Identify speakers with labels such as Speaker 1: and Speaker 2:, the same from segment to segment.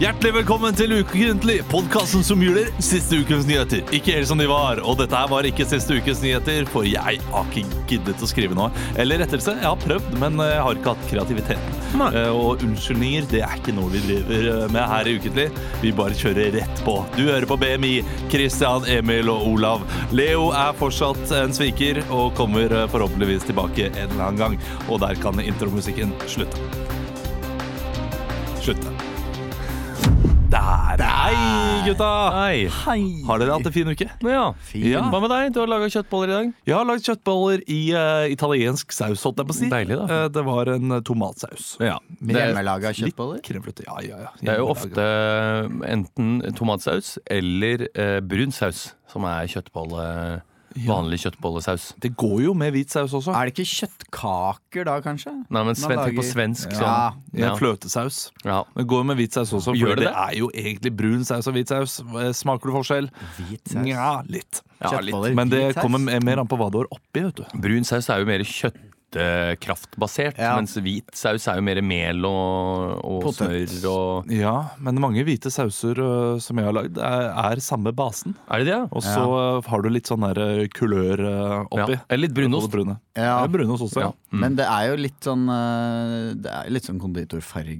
Speaker 1: Hjertelig velkommen til Ukentlig, podkasten som juler siste ukens nyheter. Ikke helt som de var, og dette her var ikke siste ukens nyheter, for jeg har ikke giddet å skrive noe. Eller rettelse, jeg har prøvd, men eh, jeg har ikke hatt kreativiteten.
Speaker 2: Nei.
Speaker 1: Eh, Og unnskyldninger, det er ikke noe vi driver eh, med her i Ukentlig. Vi bare kjører rett på. Du hører på BMI, Christian, Emil og Olav. Leo er fortsatt en sviker, og kommer eh, forhåpentligvis tilbake en eller annen gang. Og der kan intromusikken slutte. Slutte. Der. Hei, gutta!
Speaker 2: Hei.
Speaker 1: Har dere hatt en fin uke?
Speaker 2: Ja.
Speaker 1: Ja.
Speaker 2: Hva med deg? Du har laga kjøttboller i dag.
Speaker 1: Jeg har lagd kjøttboller i eh, italiensk saus, holdt jeg på å si.
Speaker 2: Deilig, da.
Speaker 1: Eh, det var en eh, tomatsaus.
Speaker 2: Ja.
Speaker 3: Med
Speaker 2: Det,
Speaker 3: hjemmelaga kjøttboller?
Speaker 1: Litt kremfløte. Ja, ja, ja.
Speaker 2: det er jo ofte enten tomatsaus eller eh, brun saus som er kjøttbolle, vanlig kjøttbollesaus.
Speaker 1: Det går jo med hvit saus også.
Speaker 3: Er det ikke kjøttkaker da, kanskje?
Speaker 2: Nei, men sven,
Speaker 3: Man
Speaker 2: tenk på
Speaker 3: lager- Ja.
Speaker 2: svensk sånn.
Speaker 1: Ja. Fløtesaus.
Speaker 2: Ja.
Speaker 1: Det går med hvit saus også,
Speaker 2: Gjør
Speaker 1: for
Speaker 2: det
Speaker 1: det,
Speaker 2: det?
Speaker 1: er jo egentlig brun saus og hvit saus. Eh, Smaker du forskjell?
Speaker 3: Hvit saus.
Speaker 1: Nja, litt.
Speaker 2: Ja, litt.
Speaker 3: Kjøttboller,
Speaker 1: Men det
Speaker 3: hvit saus.
Speaker 1: kommer mer an på hva du har oppi, vet du.
Speaker 2: Brun saus er jo mer kjøttkraftbasert,
Speaker 3: Ja.
Speaker 2: mens hvit saus er jo mer mel og, og
Speaker 3: Potet.
Speaker 2: smør og
Speaker 1: Ja, men mange hvite sauser eh, som jeg har lagd, er, er samme basen.
Speaker 2: Er det det, ja?
Speaker 1: Og så eh, har du litt sånn der eh, kulør eh, oppi.
Speaker 2: Ja. Eller litt brunost.
Speaker 1: Både Brune. Ja.
Speaker 3: Ja.
Speaker 1: Brunost også, ja.
Speaker 2: Ja. Mm.
Speaker 3: Men det er jo litt sånn eh, Det er litt sånn konditorfarge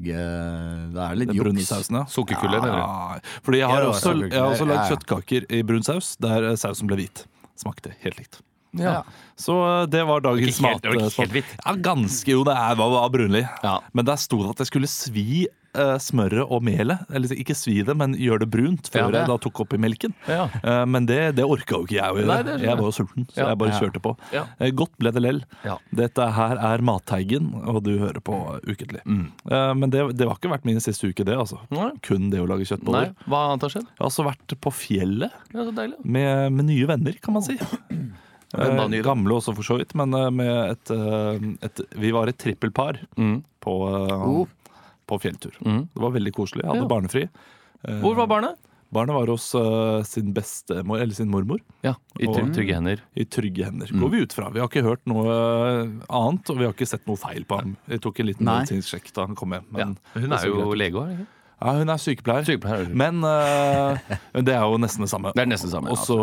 Speaker 3: Det er litt
Speaker 1: Den brune
Speaker 3: juks.
Speaker 1: sausen, ja.
Speaker 2: Sukkerkulle, mener du?
Speaker 1: Ja, Fordi jeg har
Speaker 3: Ja,
Speaker 1: også,
Speaker 3: sukkerkuller,
Speaker 1: jeg har også lagd
Speaker 3: ja.
Speaker 1: kjøttkaker i brun saus, der eh, sausen ble hvit. Smakte helt likt.
Speaker 2: Ja.
Speaker 1: Så eh, det var dagens
Speaker 2: Ikke
Speaker 1: mat.
Speaker 2: helt- det var ikke
Speaker 1: eh, smak.
Speaker 2: helt hvitt.
Speaker 1: Ja, ganske jo, det er, var, var brunlig.
Speaker 2: Ja.
Speaker 1: Men der sto det at jeg skulle svi eh, smøret og melet. Eller ikke svi det, men gjøre det brunt før
Speaker 2: Ja, det-
Speaker 1: jeg da tok oppi melken.
Speaker 2: Ja.
Speaker 1: Eh, men det, det orka jo ikke jeg å gjøre.
Speaker 2: Nei, det skjønner
Speaker 1: jeg var jo sulten, så
Speaker 2: Ja.
Speaker 1: jeg bare
Speaker 3: Ja.
Speaker 1: kjørte på.
Speaker 2: Ja.
Speaker 1: Eh, Godt ble det lell.
Speaker 2: Ja.
Speaker 1: Dette her er Matheigen, og du hører på Ukentlig.
Speaker 2: Mm.
Speaker 1: Eh, Men det, det var ikke vært min siste uke, det. altså
Speaker 2: Nei.
Speaker 1: Kun det å lage
Speaker 2: Nei,
Speaker 1: kjøttboller.
Speaker 2: hva annet har skjedd?
Speaker 1: Jeg har også vært på fjellet
Speaker 2: Ja, så deilig.
Speaker 1: med, med nye venner, kan man si.
Speaker 2: Hvem da,
Speaker 1: Eh,
Speaker 2: nye?
Speaker 1: Gamle også, for så vidt, men eh, med et, eh, et Vi var et trippelpar
Speaker 2: Mm.
Speaker 1: på, eh,
Speaker 3: Oh.
Speaker 1: på fjelltur.
Speaker 2: Mm.
Speaker 1: Det var veldig koselig. Jeg hadde
Speaker 2: Ja.
Speaker 1: barnefri. Eh,
Speaker 2: Hvor var barnet?
Speaker 1: Barnet var hos eh, sin bestemor, eller sin mormor.
Speaker 2: Ja, i
Speaker 1: Og-
Speaker 2: tryg- trygge hender.
Speaker 1: I trygge hender,
Speaker 2: Mm.
Speaker 1: går vi ut fra. Vi har ikke hørt noe eh, annet, og vi har ikke sett noe feil på ham. Jeg tok en liten
Speaker 3: Nei.
Speaker 1: medisinsk sjekk da han kom hjem.
Speaker 2: Ja.
Speaker 1: Men
Speaker 2: Hun
Speaker 1: det
Speaker 2: er
Speaker 1: så
Speaker 2: jo
Speaker 1: greit ut.
Speaker 2: lege òg,
Speaker 1: ja, Hun er sykepleier.
Speaker 2: Sykepleier, ja.
Speaker 1: Men eh, det er jo nesten det samme.
Speaker 2: Det er nesten samme, ja,
Speaker 1: Og så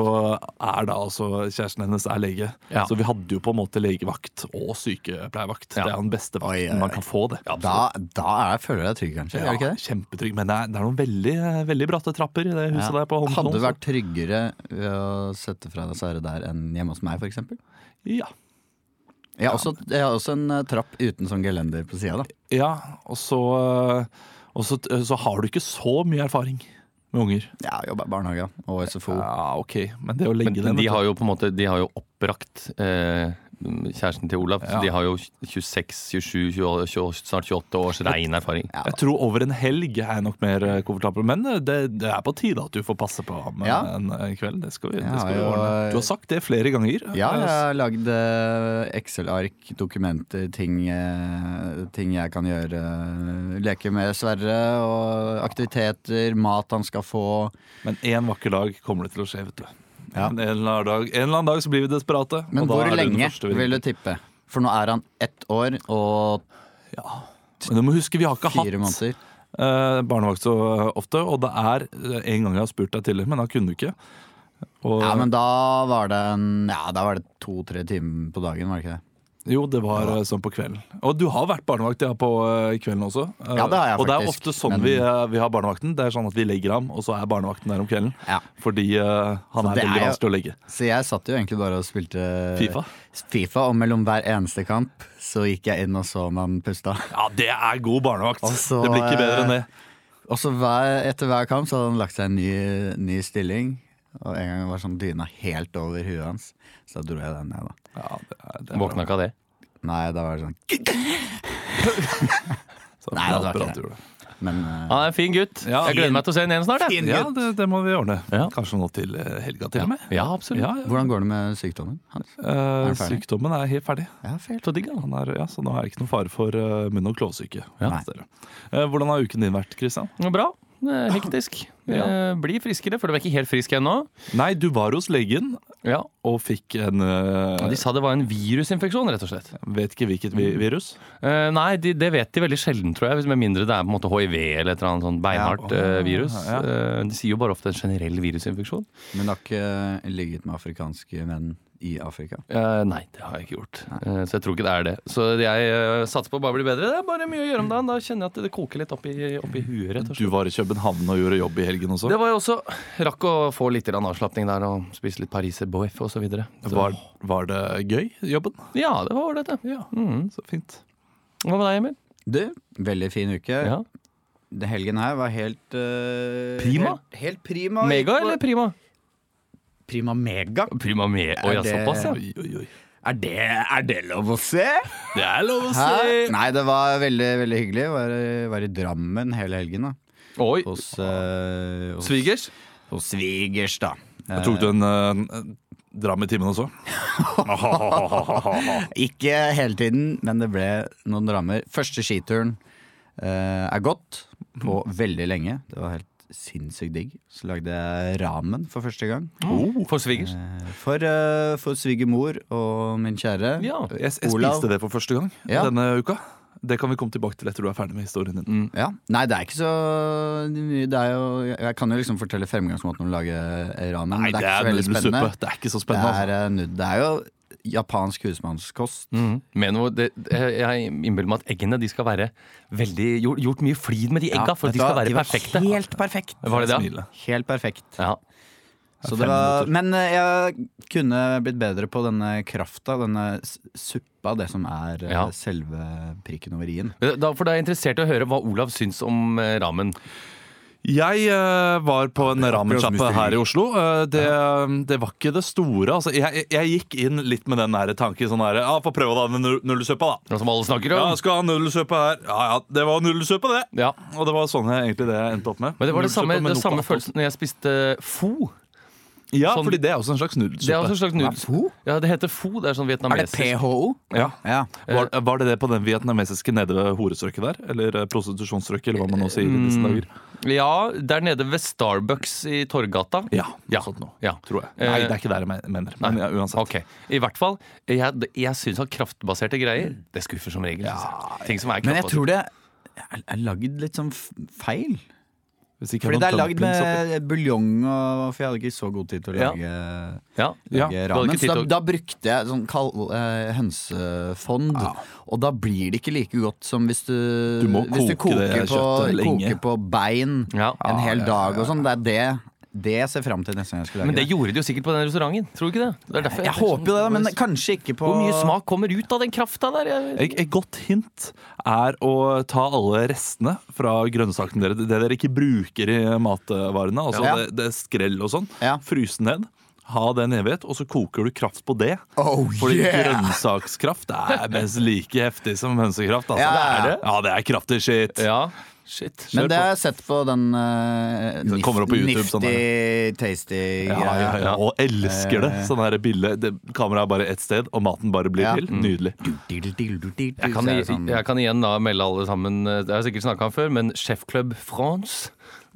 Speaker 1: er da altså kjæresten hennes er lege.
Speaker 2: Ja.
Speaker 1: Så vi hadde jo på en måte legevakt og sykepleiervakt.
Speaker 2: Ja.
Speaker 1: Det er den beste vakten
Speaker 3: Oi, oi, oi.
Speaker 1: man kan få, det.
Speaker 3: Da, da er, føler jeg deg trygg, kanskje?
Speaker 1: Ja,
Speaker 3: er det ikke det?
Speaker 1: Kjempetrygg. Men det er, det er noen veldig, veldig bratte trapper i det huset
Speaker 3: Ja.
Speaker 1: der på Holmenkollen.
Speaker 3: Hadde du vært tryggere ved å sette fra deg sære der enn hjemme hos meg, f.eks.?
Speaker 1: Ja.
Speaker 3: Jeg, har også- jeg har også en eh, trapp uten sånn gelender på sida, da.
Speaker 1: ja. Og, så, eh, og så, så har du ikke så mye erfaring med unger.
Speaker 3: Jeg har jobba i barnehage og SFO.
Speaker 1: Ja, OK. Men det å legge
Speaker 2: Men
Speaker 1: den
Speaker 2: de har jo på en måte De har jo oppbrakt eh, kjæresten til Olav. Så
Speaker 1: Ja.
Speaker 2: de har jo 26, 27, 28, snart 28 års rein erfaring.
Speaker 3: Ja.
Speaker 1: Jeg tror over en helg er jeg nok mer eh, komfortabel, men eh, det, det er på tide at du får passe på ham eh,
Speaker 3: Ja.
Speaker 1: en en kveld. Det skal vi,
Speaker 3: Ja,
Speaker 1: det skal vi
Speaker 3: jo,
Speaker 1: ordne.
Speaker 3: eh,
Speaker 1: Du har sagt det flere ganger.
Speaker 3: Ja,
Speaker 1: Eh,
Speaker 3: jeg har lagd eh, Excel-ark, dokumenter, ting, eh, ting jeg kan gjøre. Leke med Sverre, og aktiviteter, mat han skal få.
Speaker 1: Men en vakker dag kommer det til å skje, vet du.
Speaker 3: Ja.
Speaker 1: En, eller annen dag, en eller annen dag så blir vi desperate.
Speaker 3: Men
Speaker 1: og da
Speaker 3: hvor
Speaker 1: er du den
Speaker 3: lenge
Speaker 1: første vi ringer.
Speaker 3: vil du tippe? For nå er han ett år og
Speaker 1: ja. Men du må huske, vi har ikke
Speaker 3: fire
Speaker 1: hatt
Speaker 3: måneder.
Speaker 1: eh, barnevakt så ofte, og det er eh, en gang jeg har spurt deg tidligere, men da kunne du ikke. Og,
Speaker 3: Ja, men da var det en Ja, da var det to-tre timer på dagen, var det ikke det?
Speaker 1: Jo, det var eh, sånn på kvelden. Og du har vært barnevakt ja, på eh, kvelden også. Eh,
Speaker 3: Ja, det har jeg
Speaker 1: Og det er
Speaker 3: faktisk,
Speaker 1: ofte sånn
Speaker 3: men-
Speaker 1: vi, eh, vi har barnevakten. Det er sånn at Vi legger ham, og så er barnevakten der om kvelden.
Speaker 3: Ja.
Speaker 1: Fordi eh, han
Speaker 3: Så
Speaker 1: er
Speaker 3: det er
Speaker 1: veldig
Speaker 3: jo-
Speaker 1: vanskelig å legge.
Speaker 3: Så jeg satt jo egentlig bare og spilte
Speaker 1: Fifa?
Speaker 3: FIFA, og mellom hver eneste kamp så gikk jeg inn og så om han pusta.
Speaker 1: Ja, det er god barnevakt!
Speaker 3: Og så,
Speaker 1: det blir ikke bedre enn det.
Speaker 3: Og så Altså, hver, etter hver kamp så hadde han lagt seg en ny, ny stilling. Og en gang var sånn dyna helt over huet hans. Så da dro jeg den ned, da.
Speaker 1: Ja, det er, det er
Speaker 2: Våkna ikke av det.
Speaker 3: Nei, da var det sånn
Speaker 1: Så
Speaker 3: Nei, det var ikke
Speaker 1: bra at du
Speaker 3: det.
Speaker 1: gjorde det.
Speaker 3: Men eh,
Speaker 2: Han er en fin gutt.
Speaker 1: Ja,
Speaker 2: jeg gleder meg til å se ham igjen snart. jeg.
Speaker 1: Ja, det, det må vi ordne.
Speaker 2: Ja.
Speaker 1: Kanskje nå til eh, helga til og med.
Speaker 2: Ja, absolutt.
Speaker 1: Ja, ja.
Speaker 3: hvordan går det med sykdommen hans?
Speaker 1: Eh,
Speaker 3: den ferdig?
Speaker 1: sykdommen er helt ferdig.
Speaker 3: Ja, feil.
Speaker 2: Så digg, da.
Speaker 1: Han er, ja, så nå er det ikke noe fare for eh, munn- og klovesyke.
Speaker 2: Ja.
Speaker 1: hos dere. Eh, hvordan har uken din vært, Christian?
Speaker 2: Ja, Bra. eh, hektisk.
Speaker 1: Ja.
Speaker 2: Eh, Bli friskere, for du er ikke helt frisk ennå.
Speaker 1: Nei, du var hos legen
Speaker 2: Ja.
Speaker 1: og fikk en eh,
Speaker 2: De sa det var en virusinfeksjon, rett og slett.
Speaker 1: Vet ikke hvilket vi virus.
Speaker 2: Eh, nei, de, det vet de veldig sjelden, tror jeg. hvis- Med mindre det er på en måte HIV eller et eller annet sånn beinhardt
Speaker 1: Ja.
Speaker 2: eh, virus.
Speaker 1: Ja.
Speaker 2: Eh, de sier jo bare ofte en generell virusinfeksjon.
Speaker 3: Men det har ikke eh, ligget med afrikanske menn i Afrika.
Speaker 2: Eh, nei, det har jeg ikke gjort. Eh, så jeg tror ikke det er det. Så jeg eh, satser på å bare bli bedre. Det er bare mye å gjøre om dagen. Da kjenner jeg at det koker litt opp i, opp i huet, rett og slett.
Speaker 1: Du var i København og gjorde jobb i helgen også.
Speaker 2: Det var jo også Rakk å få litt grann avslapning der og spise litt pariser boeuf og så videre. Så-
Speaker 1: Var, var det gøy, jobben?
Speaker 2: Ja, det var ålreit, det.
Speaker 1: Ja,
Speaker 2: Mm.
Speaker 1: så fint.
Speaker 2: Hva med deg, Emil?
Speaker 3: Du, veldig fin uke.
Speaker 2: Ja.
Speaker 3: Det helgen her var helt eh,
Speaker 2: Prima?
Speaker 3: Helt, helt prima.
Speaker 2: Mega
Speaker 3: Gikk på-
Speaker 2: eller prima?
Speaker 3: Prima mega?
Speaker 2: Prima med. Å ja,
Speaker 3: Er det-
Speaker 2: såpass, ja.
Speaker 1: Oi, oi, oi.
Speaker 3: Er det, er det lov å se?
Speaker 1: Det er lov å
Speaker 3: Hæ?
Speaker 1: si!
Speaker 3: Nei, det var veldig, veldig hyggelig. Var, var i Drammen hele helgen, da.
Speaker 2: Oi.
Speaker 3: Hos, eh, hos,
Speaker 2: Svigers?
Speaker 3: hos svigers, da. Eh,
Speaker 1: Tok du en eh, dram i timen også?
Speaker 3: Ikke hele tiden, men det ble noen rammer. Første skituren eh, er gått på
Speaker 2: Mhm.
Speaker 3: veldig lenge. Det var helt sinnssykt digg. Så lagde jeg ramen for første gang.
Speaker 2: Oh. For svigers?
Speaker 3: Eh, For, eh, for svigermor og min kjære.
Speaker 2: Ja.
Speaker 1: Jeg, jeg
Speaker 3: Olav.
Speaker 1: spiste det for første gang
Speaker 3: Ja.
Speaker 1: denne uka. Det kan vi komme tilbake til etter du er ferdig med historien din.
Speaker 3: Ja. Nei, det er ikke så mye. Det er jo, jeg kan jo liksom fortelle fremgangsmåten om å lage eh, ramen. men det er ikke så veldig spennende.
Speaker 1: nudelsuppe. Det er ikke så
Speaker 3: Det
Speaker 1: spennende. altså.
Speaker 3: er, eh, nud- det er jo japansk husmannskost.
Speaker 2: Med Mm. noe, det, jeg jeg innbiller meg at eggene de skal være veldig gjort, gjort mye flid med de egga, for
Speaker 3: Vet
Speaker 2: de
Speaker 3: du
Speaker 2: skal
Speaker 3: hva?
Speaker 2: være
Speaker 3: De var
Speaker 2: perfekte.
Speaker 3: Helt perfekt.
Speaker 2: Var det det?
Speaker 1: Smilet.
Speaker 3: Helt perfekt.
Speaker 2: Ja.
Speaker 3: Så
Speaker 1: Fem
Speaker 3: det var,
Speaker 1: minutter.
Speaker 3: men eh, jeg kunne blitt bedre på denne krafta, denne s- suppa, det som er eh,
Speaker 2: Ja.
Speaker 3: selve prikken over i-en.
Speaker 2: Da, for da er jeg interessert i å høre hva Olav syns om eh, ramen.
Speaker 1: Jeg eh, var på en ramensjappe her i Oslo. Eh, det, det var ikke det store. Altså, jeg, jeg- jeg gikk inn litt med den der tanken sånn her Ja, få prøve da den nu- nudelsuppa, da.
Speaker 2: Noe som alle snakker
Speaker 1: Ja,
Speaker 2: om.
Speaker 1: jeg skal ha nudelsuppe her. Ja ja, det var nudelsuppe, det.
Speaker 2: Ja.
Speaker 1: Og det var sånn jeg, egentlig det jeg endte opp med.
Speaker 2: Men det var det
Speaker 1: Nudelsuppe
Speaker 2: samme,
Speaker 1: med
Speaker 2: det
Speaker 1: noe
Speaker 2: samme
Speaker 1: annet
Speaker 2: følelsen når jeg spiste eh, fo.
Speaker 1: også. Ja,
Speaker 2: sånn-
Speaker 1: fordi det er også en slags
Speaker 2: Det er
Speaker 1: nudelsuppe.
Speaker 2: også en slags nudels.
Speaker 3: Fo?
Speaker 2: Ja, det heter fo. Det er sånn
Speaker 3: Er det
Speaker 2: vietnamesisk.
Speaker 3: PHO?
Speaker 1: Ja.
Speaker 3: Ja.
Speaker 2: Eh.
Speaker 1: Var, var det det på den vietnamesiske nede ved horestrøket der? Eller eh, prostitusjonsstrøket, eller hva man nå sier
Speaker 2: Mm.
Speaker 1: i disse dager.
Speaker 2: Ja, der nede ved Starbucks i Torgata.
Speaker 1: Ja, noe sånt nå,
Speaker 2: Ja.
Speaker 1: tror jeg. Nei,
Speaker 2: Eh,
Speaker 1: det er ikke det jeg men- mener. Men ja, uansett.
Speaker 2: Ok, I hvert fall. Jeg, jeg syns at kraftbaserte greier Det skuffer som regel. synes jeg. Ting som er
Speaker 3: Men jeg
Speaker 2: kraftbasert.
Speaker 3: tror det er er lagd litt sånn f- feil.
Speaker 1: Hvis ikke
Speaker 3: Fordi
Speaker 1: noen
Speaker 3: det er lagd
Speaker 1: dumplings oppi.
Speaker 3: med buljong og For jeg hadde ikke så god tid til å
Speaker 2: Ja.
Speaker 3: lage,
Speaker 2: Ja.
Speaker 1: Ja,
Speaker 3: lage
Speaker 2: du hadde
Speaker 3: ramen.
Speaker 2: ikke tid
Speaker 3: Så da,
Speaker 2: til å-
Speaker 3: da brukte jeg sånn kald eh, hønsefond. Og da blir det ikke like godt som hvis du,
Speaker 1: Du må
Speaker 3: hvis du
Speaker 1: koke
Speaker 3: koker,
Speaker 1: det
Speaker 3: på,
Speaker 1: kjøttet lenge.
Speaker 3: koker på bein
Speaker 2: Ja.
Speaker 3: en hel dag og sånn. Det er det, det jeg ser fram til neste gang jeg skal lage
Speaker 2: Men det gjorde de jo sikkert på den restauranten. Tror du ikke det? det er derfor sånn
Speaker 3: Jeg håper jo det, da, men kanskje ikke på
Speaker 2: Hvor mye smak kommer ut av den krafta der? Jeg-
Speaker 1: Et, et godt hint er å ta alle restene fra grønnsakene dere, det dere ikke bruker i matvarene, altså
Speaker 3: Ja.
Speaker 1: det, det skrell og sånn,
Speaker 3: Ja.
Speaker 1: fryse ned. Ha det en evighet, og så koker du kraft på det.
Speaker 3: Oh,
Speaker 1: Fordi
Speaker 3: yeah!
Speaker 1: grønnsakskraft er mest like heftig som hønsekraft. Altså.
Speaker 3: Ja, ja, ja.
Speaker 1: Det er det. ja, det er kraftig shit.
Speaker 2: Ja. Shit.
Speaker 3: Men det har jeg sett på den eh,
Speaker 1: Det kommer opp på YouTube,
Speaker 3: nifty,
Speaker 1: sånn
Speaker 3: tasty
Speaker 1: Ja,
Speaker 3: greia.
Speaker 1: ja, ja. Og elsker det. Sånn her bilde. Det- Kameraet er bare ett sted, og maten bare blir
Speaker 3: Ja. Mm.
Speaker 1: til. Nydelig.
Speaker 3: Diddle, diddle, diddle,
Speaker 2: Jeg kan,
Speaker 3: så er det sånn-
Speaker 2: jeg kan igjen da melde alle sammen eh, Det har jeg sikkert snakka om før, men Chef Club France,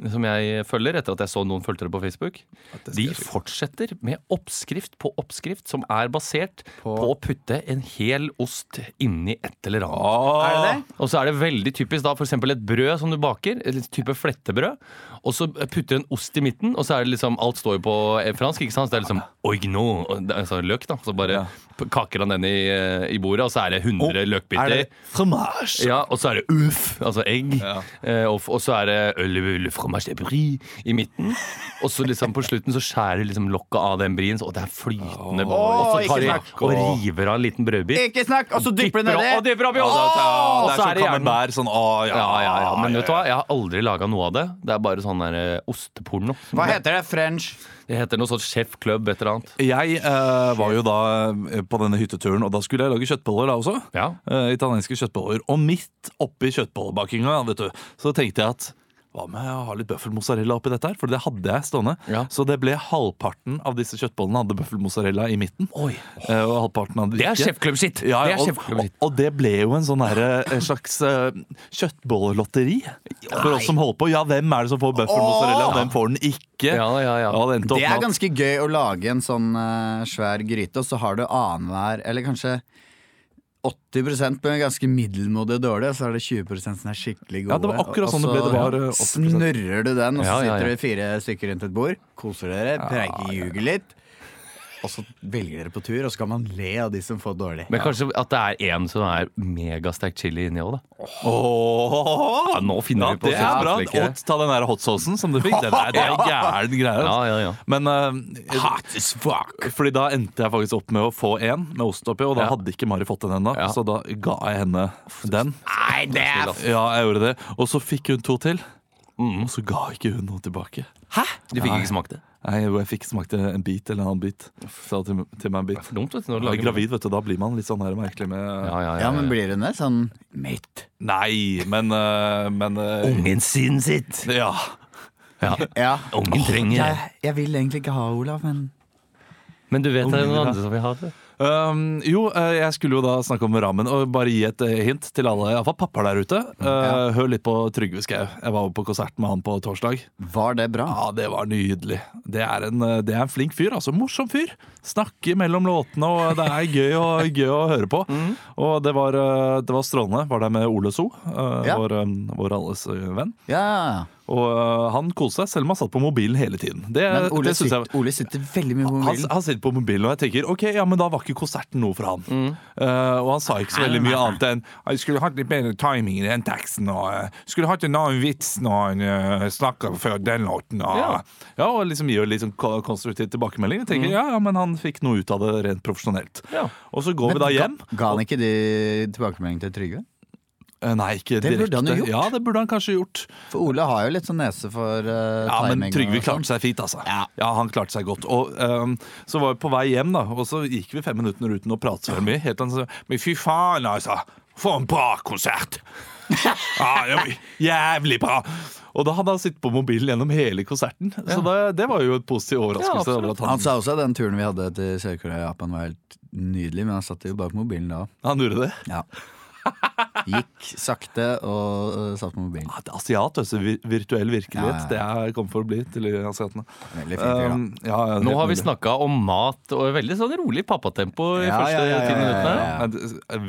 Speaker 2: som jeg følger etter at jeg så noen fulgte det på Facebook,
Speaker 1: det skal
Speaker 2: de
Speaker 1: jeg sjekke.
Speaker 2: fortsetter med oppskrift på oppskrift som er basert på, å putte en hel ost inni et eller annet.
Speaker 3: Er det det?
Speaker 2: Og så er det veldig typisk da f.eks. et brød som du baker, et type flettebrød, og så putter du en ost i midten, og så er det liksom Alt står jo på eh, fransk, ikke sant? Så det er liksom oignon, og det er altså løk, da. Så bare
Speaker 1: Ja.
Speaker 2: p- kaker han den i, eh, i bordet, og så er det 100
Speaker 1: Er
Speaker 2: løkbiter.
Speaker 1: det fromage?
Speaker 2: Ja, og så er det uff, altså egg.
Speaker 1: Ja.
Speaker 2: Eh, og, f- og så er det le, le fromage de brie i midten. Og så liksom på slutten så skjærer liksom lokket av den brien, så- og det er flytende
Speaker 3: Åh,
Speaker 2: Og så tar
Speaker 3: ikke
Speaker 2: de
Speaker 3: snakk.
Speaker 2: og river av en liten brødbit.
Speaker 3: Ikke snakk! Og så dypper du
Speaker 2: Dypper opp- og
Speaker 3: nedi!
Speaker 2: dypper opp i
Speaker 1: Ja, altså,
Speaker 2: ost.
Speaker 1: ja,
Speaker 2: Og
Speaker 1: det er
Speaker 2: så er
Speaker 1: som
Speaker 2: det hjernen.
Speaker 1: camembert. Sånn, å, ja,
Speaker 2: Ja, ja, ja, men
Speaker 1: ja,
Speaker 2: vet du hva? Jeg har aldri laga noe av det. Det er bare sånn der eh, osteporno.
Speaker 3: Hva heter det? French?
Speaker 2: Det heter noe sånt Chef Club et eller annet.
Speaker 1: Jeg eh, var jo da eh, på denne hytteturen, og da skulle jeg lage kjøttboller da også.
Speaker 2: Ja.
Speaker 1: Eh, italienske kjøttboller. Og midt oppi kjøttbollebakinga vet du, så tenkte jeg at hva med å ha litt bøffelmozzarella oppi dette her? For det hadde jeg stående.
Speaker 2: Ja.
Speaker 1: Så det ble halvparten av disse kjøttbollene hadde bøffelmozzarella i midten. Eh, Og halvparten hadde
Speaker 2: Det er
Speaker 1: ikke.
Speaker 2: sjefklubb-sitt!
Speaker 1: Ja,
Speaker 2: det
Speaker 1: ja,
Speaker 2: er
Speaker 1: og,
Speaker 2: sjefklubben
Speaker 1: og, og det ble jo en sånn herre- en slags uh, kjøttbollelotteri for oss som holder på. Ja, hvem er det som får bøffelmozzarella, og hvem får den ikke?
Speaker 2: Ja, ja, ja.
Speaker 1: det endte opp
Speaker 3: Det
Speaker 1: med
Speaker 3: er
Speaker 1: at-
Speaker 3: ganske gøy å lage en sånn eh, svær gryte, og så har du annenhver, eller kanskje 80 på en ganske middelmådig dårlig, og så er det 20 som er skikkelig gode.
Speaker 1: Ja, det var
Speaker 3: og
Speaker 1: akkurat sånn det ble. Det var, eh,
Speaker 3: så
Speaker 1: 80%.
Speaker 3: snurrer du den, og så
Speaker 2: Ja, ja, ja.
Speaker 3: sitter dere fire stykker rundt et bord, koser dere, preiker, ljuger litt. Og så velger dere på tur, og så kan man le av de som får dårlig.
Speaker 2: Men kanskje at det er én som er megasterk chili inni òg, da.
Speaker 1: Åh!
Speaker 2: Ja, nå finner
Speaker 1: ja,
Speaker 2: vi på
Speaker 1: det er bra.
Speaker 2: kjøttboller, ikke?
Speaker 1: Og ta den der hotsaucen som du fikk. Den er, det er gæren greie.
Speaker 2: Ja,
Speaker 1: altså.
Speaker 2: ja, ja.
Speaker 1: Men eh, Fordi da endte jeg faktisk opp med å få en med ost oppi, og da
Speaker 2: Ja.
Speaker 1: hadde ikke Mari fått den ennå.
Speaker 2: Ja. Ah,
Speaker 1: Så da ga jeg henne den.
Speaker 3: Nei, det er
Speaker 1: Ja, jeg gjorde det. Og så fikk hun to til.
Speaker 2: Mm.
Speaker 1: Og så ga ikke hun noe tilbake.
Speaker 2: Du fikk ikke smakt det?
Speaker 1: Nei, jo, jeg fikk smakte en bit eller en annen bit. Sa til, til meg en bit.
Speaker 2: For dumt, vet du. Når du
Speaker 1: Jeg er
Speaker 2: lager
Speaker 1: gravid, vet du. Da blir man litt sånn her merkelig med
Speaker 2: Ja, ja, ja,
Speaker 3: Ja, men blir hun det? Sånn mate.
Speaker 1: Nei, men eh, Men eh,
Speaker 2: Ungen sin sitt!
Speaker 1: Ja.
Speaker 2: Ja.
Speaker 3: Ja.
Speaker 2: Ungen trenger
Speaker 3: Jeg, jeg vil egentlig ikke ha Olav, men
Speaker 2: Men du vet det er
Speaker 1: Ungen, ja.
Speaker 2: noen andre som vil ha det?
Speaker 1: Um, jo, eh, jeg skulle jo da snakke om ramen og bare gi et eh, hint til alle, iallfall pappaer der ute. Eh,
Speaker 2: Mm.
Speaker 1: Hør litt på Trygve Skau. Jeg var jo på konsert med han på torsdag.
Speaker 3: var det bra?
Speaker 1: Ja, det var nydelig. Det er en, eh, det er en flink fyr, altså. Morsom fyr. Snakker mellom låtene, og det er gøy, og, gøy å høre på.
Speaker 3: Mm.
Speaker 1: Og det var, eh, det var strålende. Var der med Ole So, eh,
Speaker 3: Ja.
Speaker 1: vår, eh, vår alles eh, venn.
Speaker 3: Ja,
Speaker 1: Og eh, han koste seg, selv om han satt på mobilen hele tiden. Det,
Speaker 3: Men Ole,
Speaker 1: det synes jeg
Speaker 3: sitter, Ole sitter veldig mye på
Speaker 1: han,
Speaker 3: mobilen.
Speaker 1: han sitter på mobilen, og jeg tenker ok, ja, men da var ikke konserten noe for han.
Speaker 3: Mm.
Speaker 1: Eh, og han sa ikke så veldig mye annet enn jeg skulle hatt litt bedre timing i den teksten. og eh, Skulle hatt en annen vits når han uh, snakker før den låten. Og,
Speaker 2: Ja.
Speaker 1: ja. og liksom gir jo litt sånn ko- konstruktiv tilbakemelding. Jeg tenker,
Speaker 3: Mm.
Speaker 1: ja, ja, Men han fikk noe ut av det rent profesjonelt.
Speaker 2: Ja.
Speaker 1: Og så går vi da hjem.
Speaker 3: Ga han ikke de tilbakemelding til Trygve?
Speaker 1: Eh, Nei, ikke
Speaker 3: Det
Speaker 1: direkte.
Speaker 3: burde han jo gjort.
Speaker 1: Ja, det burde han kanskje gjort.
Speaker 3: For Ole har jo litt sånn nese for eh,
Speaker 1: Ja,
Speaker 3: timing.
Speaker 1: men Trygve
Speaker 3: og sånn.
Speaker 1: klarte seg fint, altså.
Speaker 3: Ja.
Speaker 1: han klarte seg godt. Og ehm, så var vi på vei hjem, da, og så gikk vi fem minutter uten å prate så veldig mye. Helt til han sa Men fy faen, altså! For en bra konsert! Ja, det var jævlig bra! Og da hadde han sittet på mobilen gjennom hele konserten. Så det, det var jo et positiv
Speaker 2: Ja,
Speaker 1: overraskelse.
Speaker 2: absolutt.
Speaker 1: over at
Speaker 3: Han
Speaker 1: han,
Speaker 3: sa også at den turen vi hadde til Sør-Korea og Japan var helt nydelig, men han satt jo bare på mobilen da.
Speaker 1: han gjorde det.
Speaker 3: Ja. Gikk sakte og eh, satt på mobilen.
Speaker 1: Ja, det er Asiat, altså. vir- Virtuell virkelighet.
Speaker 3: Ja, ja.
Speaker 1: Det er kommer for å bli til asiatene.
Speaker 3: Veldig fint. fyr, da.
Speaker 2: Um,
Speaker 1: Ehm, ja, ja, helt
Speaker 2: Nå har vi
Speaker 1: nydelig.
Speaker 2: snakka om mat og veldig sånn rolig pappatempo i
Speaker 3: Ja,
Speaker 2: første
Speaker 3: ja, ja, ja,
Speaker 2: ti
Speaker 3: ja,
Speaker 2: minuttene.
Speaker 3: ja.
Speaker 1: Men du-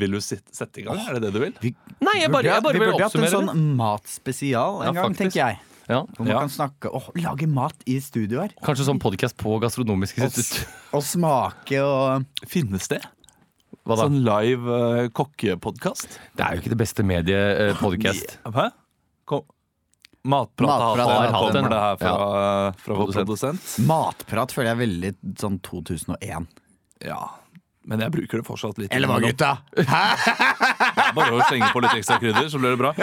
Speaker 1: Vil du sitte- sette i gang? Er det det du vil?
Speaker 3: Vi
Speaker 2: Nei, jeg bare-
Speaker 3: burde,
Speaker 2: jeg bare
Speaker 3: vi
Speaker 2: vil
Speaker 3: burde hatt en
Speaker 2: oppsummere
Speaker 3: sånn matspesial en
Speaker 2: Ja,
Speaker 3: gang,
Speaker 2: faktisk.
Speaker 3: tenker jeg.
Speaker 2: Ja.
Speaker 3: Hvor man
Speaker 1: Ja.
Speaker 3: kan snakke Åh, lage mat i studio her.
Speaker 2: Kanskje sånn podkast på Gastronomisk
Speaker 3: Og,
Speaker 2: institutt.
Speaker 3: og smake og
Speaker 1: Finnes det?
Speaker 2: Hva da?
Speaker 1: Sånn live uh, kokkepodkast?
Speaker 2: Det er jo ikke det beste mediet eh, podcast.
Speaker 1: Hæ? Kom. Matprat,
Speaker 3: Matprat
Speaker 1: har,
Speaker 2: har
Speaker 1: hatt
Speaker 2: hatt
Speaker 1: kommer
Speaker 2: den.
Speaker 1: det her fra, eh, fra vår produsent.
Speaker 3: Matprat føler jeg er veldig sånn 2001.
Speaker 1: Ja. Men jeg bruker det fortsatt litt.
Speaker 3: Eller hva,
Speaker 1: innimellom.
Speaker 3: gutta?
Speaker 1: Bare å slenge på litt ekstra krydder, så blir det bra.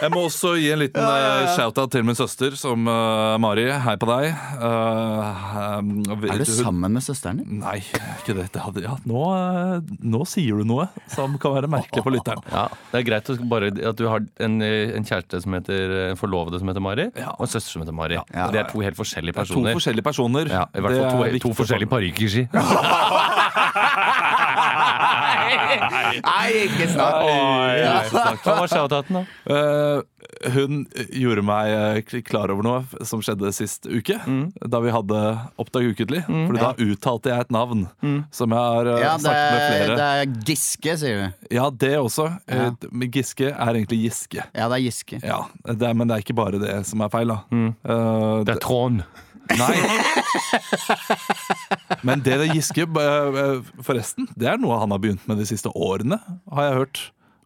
Speaker 1: Jeg må også gi en liten eh, shout-out til min søster, som eh, Mari. Hei på deg.
Speaker 3: Er du sammen med søsteren din?
Speaker 1: Nei, jeg er ikke det. det hadde, ja, nå, eh, nå sier du noe som kan være merkelig for lytteren.
Speaker 2: Ja, det er greit å bare, at du har en, eh, en kjæreste som heter eh, en forlovede som heter Mari,
Speaker 1: Ja.
Speaker 2: og en søster som heter Mari.
Speaker 3: Ja.
Speaker 2: Det er to helt forskjellige
Speaker 1: Det er To
Speaker 2: personer.
Speaker 1: forskjellige personer.
Speaker 2: ja, I hvert
Speaker 1: Det
Speaker 2: fall
Speaker 1: er
Speaker 2: to, to
Speaker 1: viktig for-
Speaker 2: forskjellige parykkerski.
Speaker 3: Nei, ikke snart!
Speaker 2: Ja, Hva var shoutouten, da?
Speaker 1: Eh, hun gjorde meg eh, k- klar over noe f- som skjedde sist uke,
Speaker 2: Mm.
Speaker 1: da vi hadde Oppdag ukentlig. Fordi da uttalte jeg et navn
Speaker 2: Mm.
Speaker 1: som jeg har eh,
Speaker 3: Ja, det
Speaker 1: snakket med
Speaker 3: er,
Speaker 1: flere.
Speaker 3: det er Giske, sier du.
Speaker 1: Ja, det også. Eh,
Speaker 3: Ja.
Speaker 1: d- men Giske er egentlig Giske.
Speaker 3: Ja, det er Giske.
Speaker 1: Ja, det er, Men det er ikke bare det som er feil, da. Eh,
Speaker 2: Mm. Det er Trond.
Speaker 1: Nei. Men det der Giske, b- eh, forresten, det er noe han har begynt med de siste årene, har jeg hørt.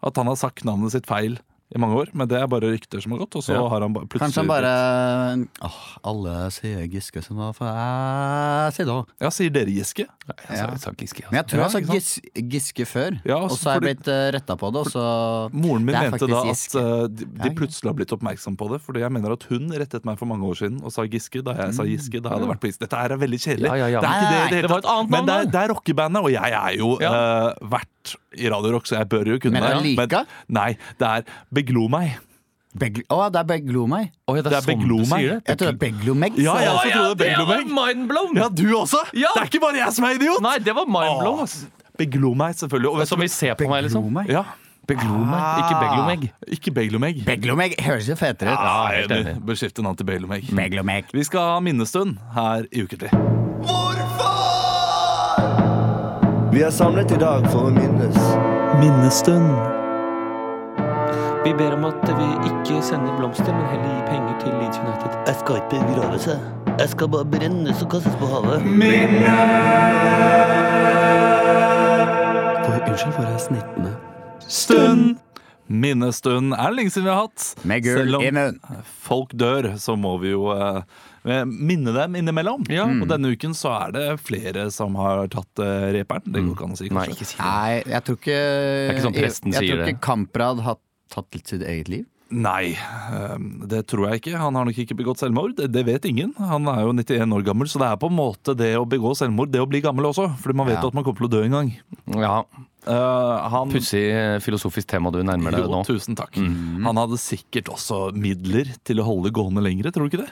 Speaker 1: At han har sagt navnet sitt feil i mange år, men det er bare rykter som har gått. Og så
Speaker 2: Ja.
Speaker 1: har han ba- plutselig
Speaker 3: Kanskje han bare Åh, alle sier Giske, så hva får jeg si da?
Speaker 1: Ja, sier dere Giske?
Speaker 2: Jeg sa- jeg sa Giske,
Speaker 3: Men jeg
Speaker 2: altså.
Speaker 3: tror
Speaker 1: Ja,
Speaker 3: jeg sa
Speaker 1: ikke
Speaker 3: gis, Giske før,
Speaker 1: Ja, altså,
Speaker 3: og så er jeg blitt eh, retta på det, og så
Speaker 1: Moren min
Speaker 3: Det er
Speaker 1: mente da
Speaker 3: faktisk
Speaker 1: at
Speaker 3: Giske.
Speaker 1: eh, de, de
Speaker 3: greit.
Speaker 1: plutselig har blitt oppmerksom på det. Fordi jeg mener at hun rettet meg for mange år siden og sa Giske da jeg sa Giske. Da jeg hadde vært på is. Dette her er veldig kjedelig.
Speaker 2: Ja, ja, ja.
Speaker 1: Det er ikke det, i
Speaker 3: Nei,
Speaker 1: det, hele
Speaker 2: det var
Speaker 1: tatt.
Speaker 2: et annet navn
Speaker 1: Men det
Speaker 2: da.
Speaker 1: er, det er rockebandet, og jeg er jo eh, vert i Radio Rock, så jeg bør jo kunne
Speaker 3: Men er det
Speaker 1: det.
Speaker 3: lika?
Speaker 1: nei, det er Beglo meg.
Speaker 3: Beg å, det er Beglomeg.
Speaker 2: Oi, det er,
Speaker 1: Det er
Speaker 2: sånn du
Speaker 1: Beglomeg.
Speaker 2: sier det?
Speaker 3: Jeg tror det er Beglomeg.
Speaker 1: Ja,
Speaker 3: sa jeg.
Speaker 1: ja.
Speaker 2: Å
Speaker 1: også trodde det var
Speaker 2: det var mindblown!
Speaker 1: Ja, du også?
Speaker 2: Ja.
Speaker 1: Det er ikke bare jeg som er idiot!
Speaker 2: Nei, det var mindblown, ass.
Speaker 1: Beglo meg, selvfølgelig. Og vet
Speaker 2: Som
Speaker 1: du-
Speaker 2: vi ser på meg, liksom. Ah.
Speaker 3: Beglomeg.
Speaker 1: ja. Ah,
Speaker 2: Beglomeg, ikke beglomeg.
Speaker 1: Ikke Beglomeg.
Speaker 3: Beglomeg høres jo fetere ut.
Speaker 1: Ja,
Speaker 2: helt
Speaker 1: enig.
Speaker 2: enig.
Speaker 1: Bør skifte navn til Beglomeg.
Speaker 3: Beglomeg.
Speaker 1: Vi skal ha minnestund her i Uketid.
Speaker 4: Vi er samlet i dag for å minnes.
Speaker 1: Minnestund.
Speaker 5: Vi ber om at vi ikke sender blomster, men heller gir penger til Leeds United.
Speaker 6: Jeg skal ikke begravelse. Jeg skal bare brennes og kastes på havet.
Speaker 5: For, unnskyld for jeg er snittende.
Speaker 1: Stund! Minnestund er det lenge siden vi har hatt.
Speaker 3: Med gull
Speaker 1: Selv om
Speaker 3: i munnen.
Speaker 1: folk dør, så må vi jo eh, minne dem innimellom.
Speaker 2: Ja.
Speaker 1: Og denne uken så er det flere som har tatt eh, reperen. Det går ikke an å si,
Speaker 2: Nei,
Speaker 1: kanskje.
Speaker 2: ikke si det.
Speaker 3: Nei, jeg tror ikke
Speaker 2: er ikke sånn presten
Speaker 3: jeg, jeg
Speaker 2: sier
Speaker 3: tror
Speaker 2: det.
Speaker 3: ikke Kamprad har tatt litt sitt eget liv.
Speaker 1: Nei, ehm, det tror jeg ikke. Han har nok ikke begått selvmord. Det- Det vet ingen. Han er jo 91 år gammel, så det er på en måte det å begå selvmord, det å bli gammel også. Fordi man vet
Speaker 3: Ja.
Speaker 1: at man kommer til å dø en gang.
Speaker 2: Ja,
Speaker 1: Eh, han
Speaker 2: Pussig eh, filosofisk tema du nærmer deg
Speaker 1: jo,
Speaker 2: nå. Mhm.
Speaker 1: tusen takk. Han hadde sikkert også midler til å holde gående lengre, tror du ikke det?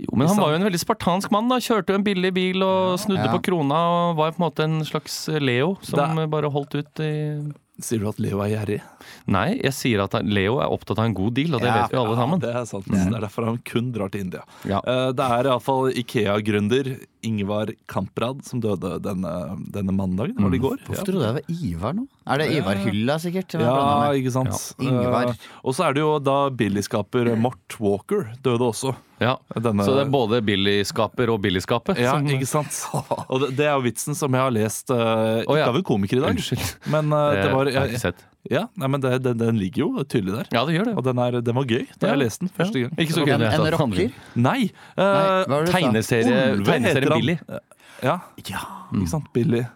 Speaker 2: Jo, men han var jo en veldig spartansk mann. da Kjørte jo en billig bil og snudde
Speaker 3: Ja.
Speaker 2: på krona. Og var på en måte en slags Leo som
Speaker 1: Det-
Speaker 2: eh, bare holdt ut i
Speaker 1: Sier du at Leo er gjerrig?
Speaker 2: Nei, jeg sier at han- Leo er opptatt av en god deal, og det
Speaker 3: Ja.
Speaker 2: vet jo alle sammen.
Speaker 1: Ja, det er sant. Det er derfor han kun drar til India.
Speaker 2: Ja.
Speaker 1: Eh, Det er iallfall Ikea-gründer Ingvar Kamprad som døde denne, denne mandagen. Var det
Speaker 2: Mhm.
Speaker 1: i går?
Speaker 3: Hvorfor trodde jeg det var Ivar nå? Er det Ivar Hylla, sikkert? som jeg
Speaker 1: Ja,
Speaker 3: blandet med?
Speaker 1: ikke sant.
Speaker 3: Ja. Ingvar.
Speaker 1: Eh, og så er det jo da Billy-skaper Mort Walker døde også.
Speaker 2: Ja.
Speaker 1: Denne-
Speaker 2: Så det er både billigskaper og billigskapet?
Speaker 1: Ja,
Speaker 2: som-
Speaker 1: ikke sant. Og det, det er jo vitsen som jeg har lest eh,
Speaker 2: Å,
Speaker 1: Ikke
Speaker 2: ja.
Speaker 1: av en komiker i dag,
Speaker 2: Unnskyld.
Speaker 1: men eh, det var
Speaker 2: jeg har ikke
Speaker 1: ja,
Speaker 2: sett.
Speaker 1: ja, nei, men det, den, den ligger jo tydelig der.
Speaker 2: Ja, det gjør det.
Speaker 1: Og den, er, den var gøy da
Speaker 2: Ja.
Speaker 1: jeg leste den første gang.
Speaker 2: Ikke så gøy.
Speaker 3: En,
Speaker 2: det er
Speaker 3: en
Speaker 2: sant.
Speaker 3: rocker?
Speaker 1: Nei! eh,
Speaker 3: Nei, hva var det du sa?
Speaker 2: Tegneserie,
Speaker 1: Olve heter
Speaker 2: tegneserie
Speaker 1: han.
Speaker 2: Billy. Mm.
Speaker 1: Ja, ikke sant. Billy.
Speaker 3: Er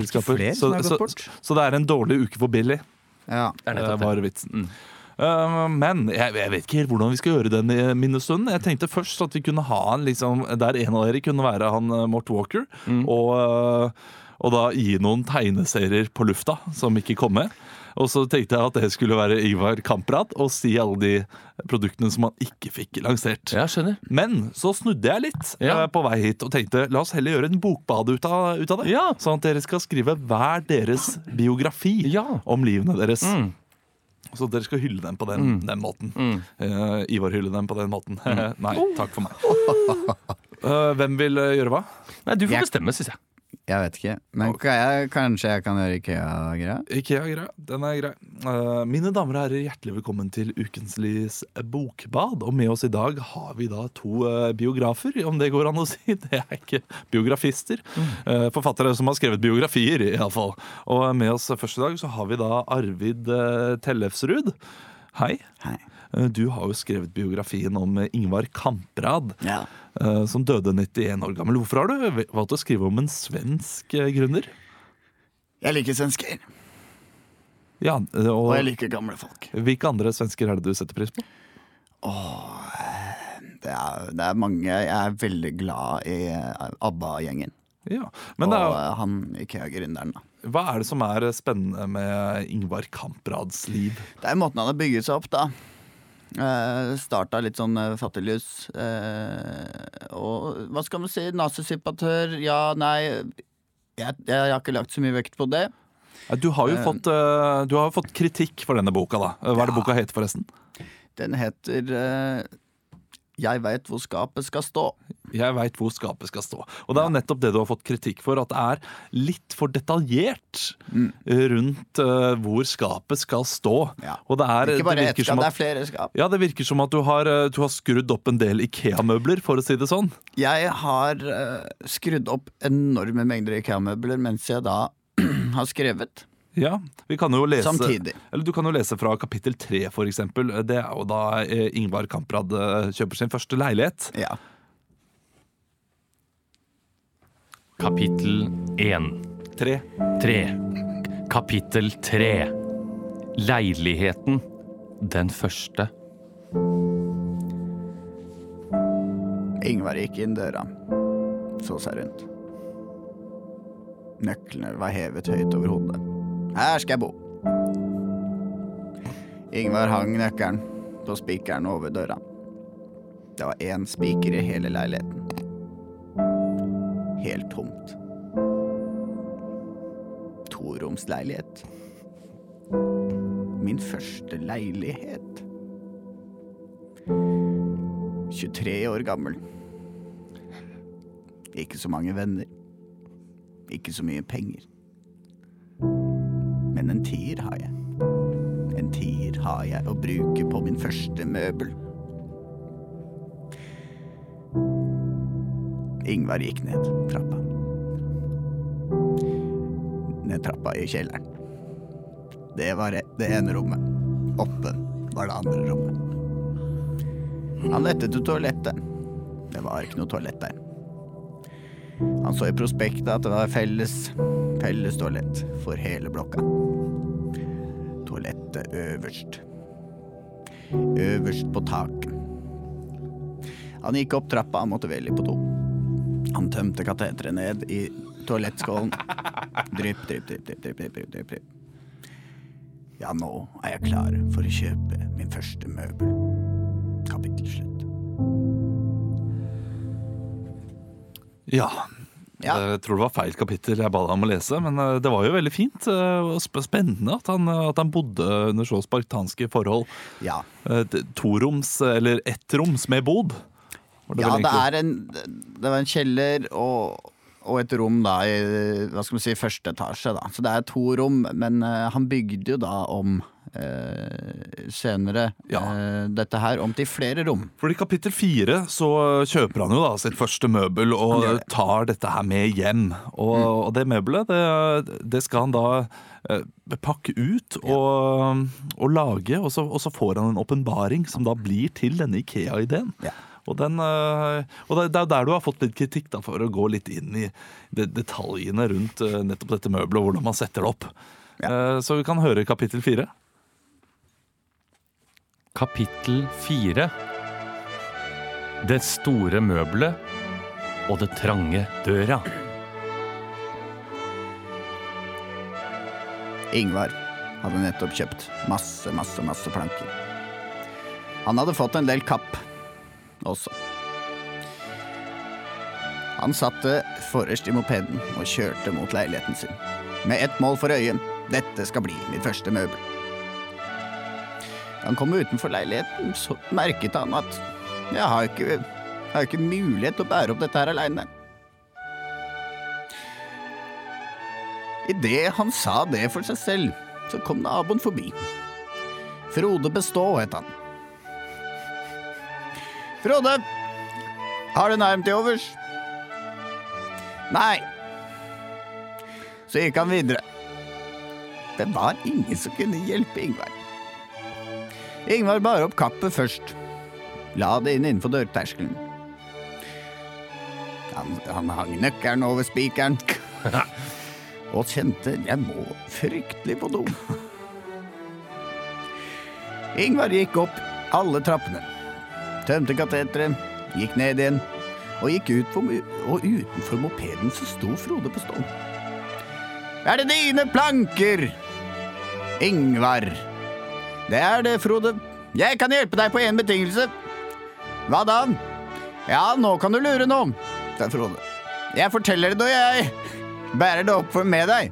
Speaker 3: det ikke flere
Speaker 1: så,
Speaker 3: som har gått
Speaker 1: så,
Speaker 3: bort?
Speaker 1: så det er en dårlig uke for Billy,
Speaker 3: Ja.
Speaker 1: eh, var vitsen. Eh, men jeg, jeg vet ikke helt hvordan vi skal gjøre den i minnestunden. Jeg tenkte først at vi kunne ha en liksom, der en av dere kunne være han eh, Mort Walker. Og, eh, og da gi noen tegneserier på lufta som ikke kom med. Og så tenkte jeg at det skulle være Ivar Kamprad og si alle de produktene som han ikke fikk lansert.
Speaker 2: Ja, skjønner.
Speaker 1: Men så snudde jeg litt
Speaker 2: Ja.
Speaker 1: eh, på vei hit og tenkte la oss heller gjøre en bokbade ut av, ut av det.
Speaker 2: Ja.
Speaker 1: Sånn at dere skal skrive hver deres biografi
Speaker 2: Ja.
Speaker 1: om livene deres.
Speaker 2: Mm.
Speaker 1: Så dere skal hylle dem på den, den måten. Eh, Ivar hylle dem på den måten. Nei,
Speaker 2: Mm.
Speaker 1: takk for meg. Eh, hvem vil eh, gjøre hva?
Speaker 2: Nei, du får
Speaker 3: Jeg-
Speaker 2: bestemme, syns jeg.
Speaker 3: Jeg vet ikke. Men kan jeg, kanskje jeg kan gjøre Ikea-greia?
Speaker 1: Ikea er grei. Den er grei. Eh, mine damer og herrer, hjertelig velkommen til ukens Lys bokbad. Og med oss i dag har vi da to eh, biografer, om det går an å si. Det er ikke biografister. Eh, forfattere som har skrevet biografier, iallfall. Og med oss først i dag så har vi da Arvid eh, Tellefsrud. Hei.
Speaker 3: Hei.
Speaker 1: Eh, Du har jo skrevet biografien om eh, Ingvar Kamprad, eh, som døde 91 år gammel. Hvorfor har du valgt å skrive om en svensk eh, gründer?
Speaker 3: Jeg liker svensker,
Speaker 1: Ja, eh, og,
Speaker 3: liker gamle folk.
Speaker 1: Hvilke andre svensker er det du setter pris på?
Speaker 3: Det er, det er mange Jeg er veldig glad i eh, ABBA-gjengen.
Speaker 1: Ja.
Speaker 3: Og
Speaker 1: Men det er,
Speaker 3: eh, han Ikea-gründeren, da.
Speaker 1: hva er det som er spennende med Ingvar Kamprads liv?
Speaker 3: Det er måten han har bygget seg opp, da. Eh, starta litt sånn eh, fattiglus. Eh, og hva skal man si? Nazisympatør? Ja, nei. Jeg, jeg har ikke lagt så mye vekt på det.
Speaker 1: Eh, Du har jo fått, eh, du har jo fått kritikk for denne boka, da. Eh, Hva er det boka heter, forresten?
Speaker 3: Den heter eh, Jeg veit hvor skapet skal stå.
Speaker 1: Jeg veit hvor skapet skal stå. Og det er jo nettopp det du har fått kritikk for, at det er litt for detaljert
Speaker 3: Mm.
Speaker 1: eh, rundt eh, hvor skapet skal stå.
Speaker 3: Ja.
Speaker 1: Og det er
Speaker 3: Ikke bare
Speaker 1: det
Speaker 3: ett
Speaker 1: virker
Speaker 3: skap,
Speaker 1: som
Speaker 3: det
Speaker 1: at
Speaker 3: er flere skap.
Speaker 1: ja, Det virker som at du har, eh, du har skrudd opp en del Ikea-møbler, for å si det sånn.
Speaker 3: Jeg har eh, skrudd opp enorme mengder IKEA-møbler mens jeg da har skrevet.
Speaker 1: Ja, vi kan jo lese
Speaker 3: Samtidig.
Speaker 1: Eller du kan jo lese fra kapittel tre, for eksempel. Det er jo da eh, Ingvar Kamprad eh, kjøper sin første leilighet.
Speaker 3: Ja.
Speaker 2: Kapittel én.
Speaker 1: Tre.
Speaker 2: Tre. Kapittel tre. Leiligheten. Den første.
Speaker 3: Ingvar gikk inn døra. Så seg rundt. Nøklene var hevet høyt over hodet. Her skal jeg bo. Ingvar hang nøkkelen på spikeren over døra. Det var én spiker i hele leiligheten. Helt tomt. Toromsleilighet. Min første leilighet. 23 år gammel. Ikke så mange venner. Ikke så mye penger. Men en tier har jeg. En tier har jeg å bruke på min første møbel. Ingvar gikk ned trappa. Ned trappa i kjelleren. Det var det ene rommet. Oppe var det andre rommet. Han lette til toalettet. Det var ikke noe toalett der. Han så i prospektet at det var felles, felles toalett for hele blokka toalettet øverst. Øverst på taket. Han gikk opp trappa og måtte veldig på do. Han tømte kateteret ned i toalettskålen. Drypp, drypp, drypp, drypp, drypp, drypp, drypp, drypp, drypp. Ja, nå er jeg klar for å kjøpe min første møbel. Kapittel slutt.
Speaker 1: Ja.
Speaker 3: Ja.
Speaker 1: Jeg tror det var feil kapittel jeg ba deg om å lese, men eh, det var jo veldig fint eh, og sp- spennende at han, eh, at han bodde under så spartanske forhold.
Speaker 3: Ja.
Speaker 1: Eh, d- Toroms, eh, eller ettroms med bod. var
Speaker 3: ja,
Speaker 1: vel
Speaker 3: det
Speaker 1: egentlig.
Speaker 3: er en Det var en kjeller og, og et rom da i hva skal man si, første etasje. da Så det er to rom, men eh, han bygde jo da om eh, senere
Speaker 1: Ja.
Speaker 3: eh, dette her om til flere rom.
Speaker 1: Fordi I kapittel fire så kjøper han jo da sitt første møbel og tar dette her med hjem. Og, og det møbelet det, det skal han da eh, pakke ut og, og lage, og så, og så får han en åpenbaring som da blir til denne Ikea-ideen.
Speaker 3: Ja.
Speaker 1: Og, den, eh, og det, det er jo der du har fått litt kritikk da, for å gå litt inn i de, detaljene rundt eh, nettopp dette møbelet og hvordan man setter det opp. Eh, Så vi kan høre kapittel fire.
Speaker 2: Kapittel 4 Det store møbelet og det trange døra.
Speaker 3: Ingvar hadde nettopp kjøpt masse, masse, masse planker. Han hadde fått en del kapp også. Han satte forrest i mopeden og kjørte mot leiligheten sin. Med ett mål for øye. Dette skal bli mitt første møbel. Da han kom utenfor leiligheten, så merket han at jeg har ikke, jeg har ikke mulighet til å bære opp dette her aleine. Idet han sa det for seg selv, så kom naboen forbi. Frode Bestå het han. Frode, har du en arm til overs? Nei. Så gikk han videre. Det var ingen som kunne hjelpe Ingvar. Ingvar bar opp kappet først. La det inn innenfor dørterskelen. Han, han hang nøkkelen over spikeren og kjente jeg må fryktelig på do. Ingvar gikk opp alle trappene, tømte kateteret, gikk ned igjen og gikk ut på, mu- og utenfor mopeden så sto Frode på stå. Er det dine planker? Ingvar. Det er det, Frode. Jeg kan hjelpe deg på én betingelse. Hva da? Ja, nå kan du lure noe, sa Frode. Jeg forteller det når jeg bærer det opp for med deg.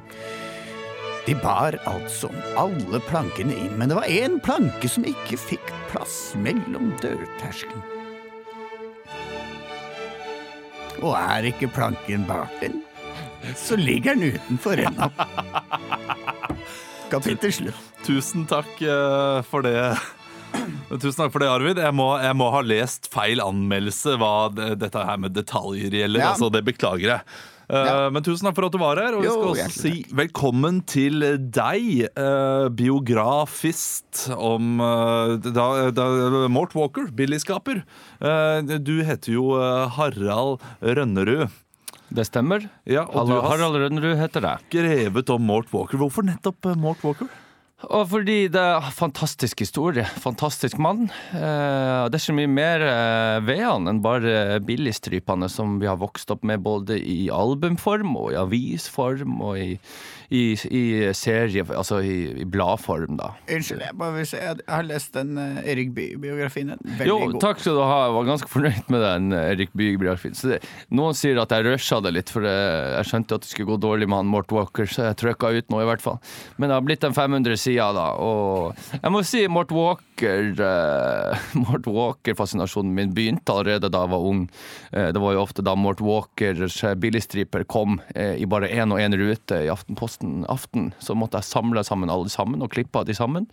Speaker 3: De bar altså alle plankene inn, men det var én planke som ikke fikk plass mellom dørterskelen. Og er ikke planken bak den, så ligger den utenfor ennå. Kapittel slutt.
Speaker 1: Tusen takk eh, for det. Tusen takk for det, Arvid. Jeg må, jeg må ha lest feil anmeldelse hva det, dette her med detaljer gjelder.
Speaker 3: Ja.
Speaker 1: Altså, det beklager jeg. Eh,
Speaker 3: Ja.
Speaker 1: Men tusen takk for at du var her. Og vi
Speaker 3: Jo,
Speaker 1: skal også si
Speaker 3: hjertelig
Speaker 1: velkommen til deg, eh, biografist om eh, da, da, Mort Walker, Billy-skaper. Eh, du heter jo eh, Harald Rønnerud.
Speaker 2: Det stemmer.
Speaker 1: Ja, og du
Speaker 2: Hallo,
Speaker 1: har
Speaker 2: Harald Rønnerud heter det.
Speaker 1: skrevet om Mort Walker. Hvorfor nettopp eh, Mort Walker?
Speaker 2: Og fordi det er en fantastisk historie. Fantastisk mann. Eh, det er så mye mer eh, ved han enn bare billigstrypene som vi har vokst opp med både i albumform og i avisform og i, i, i serie, altså i, i bladform, da.
Speaker 3: Unnskyld, jeg bare vil si jeg har lest den eh, Erik Bye-biografien. Den er Veldig
Speaker 2: Jo,
Speaker 3: god.
Speaker 2: takk skal du ha. Jeg var ganske fornøyd med den. eh, Erik Bye Bjarfin. Så det, Noen sier at jeg rusha det litt, for eh, jeg skjønte at det skulle gå dårlig med han Mort Walker, så jeg trykka ut nå, i hvert fall. Men det har blitt en 500 sider, da. Og jeg må si Mort Walker eh, Mort Walker-fascinasjonen min begynte allerede da jeg var ung. Eh, det var jo ofte da Mort Walkers eh, billigstriper kom eh, i bare én og én rute i Aftenposten aften, så måtte jeg samle sammen alle sammen, og klippa de sammen,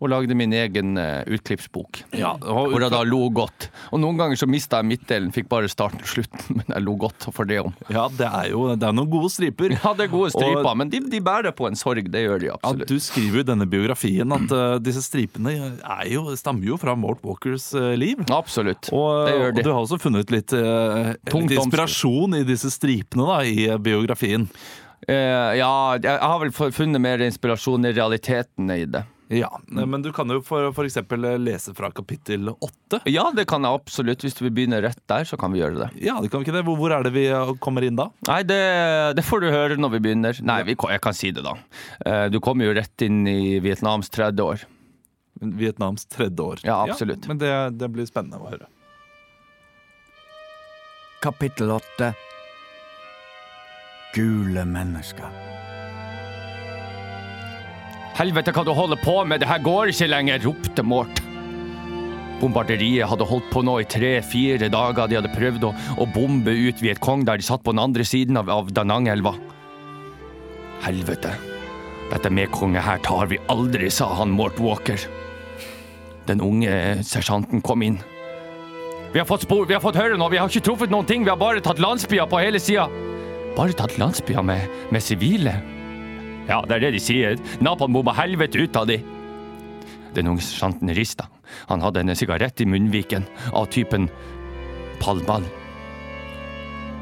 Speaker 2: og lagde min egen eh, utklippsbok. Hvor jeg da lo godt. Og noen ganger så mista jeg midtdelen, fikk bare starten og slutten. Men jeg lo godt for det om.
Speaker 1: Ja, det er jo det er noen gode striper.
Speaker 2: Ja, det er gode striper,
Speaker 1: Og-
Speaker 2: men de, de bærer på en sorg. Det gjør de
Speaker 1: Ja,
Speaker 2: absolutt.
Speaker 1: du skriver jo i denne biografien at eh, disse stripene er jo, stammer jo fra Mort Walkers eh, liv.
Speaker 2: Absolutt.
Speaker 1: Og, eh,
Speaker 2: det gjør
Speaker 1: og
Speaker 2: de.
Speaker 1: du har også funnet litt, eh,
Speaker 2: Tungt
Speaker 1: litt inspirasjon i disse stripene da, i eh, biografien.
Speaker 2: Eh, ja, jeg har vel funnet mer inspirasjon i realiteten i det.
Speaker 1: Ja, Eh, Men du kan jo for, for eksempel eh, lese fra kapittel åtte.
Speaker 2: Ja, det kan jeg absolutt. Hvis vi begynner rett der, så kan vi gjøre det.
Speaker 1: Ja, det kan vi ikke det. Hvor, hvor er det vi eh, kommer inn da?
Speaker 2: Nei, det, det får du høre når vi begynner. Nei, vi, jeg kan si det, da. Eh, Du kommer jo rett inn i Vietnams 30 år.
Speaker 1: Vietnams tredje år.
Speaker 2: Ja, absolutt.
Speaker 1: men det, det blir spennende å høre.
Speaker 3: Kapittel 8 Gule mennesker.
Speaker 2: Helvete, hva du holder på med? Det her går ikke lenger, ropte Mort. Bombarderiet hadde holdt på nå i tre-fire dager. De hadde prøvd å, å bombe ut Vietcong der de satt på den andre siden av, av Danangelva. Helvete. Dette medkonget her tar vi aldri, sa han Mort Walker. Den unge sersjanten kom inn. Vi har fått spor, vi har fått høre nå, vi har ikke truffet noen ting, vi har bare tatt landsbyer på hele sida. Bare tatt landsbyer med, med sivile? Ja, det er det de sier. Napalm bomba helvete ut av de. Den unge sersjanten rista. Han hadde en sigarett i munnviken av typen palmal.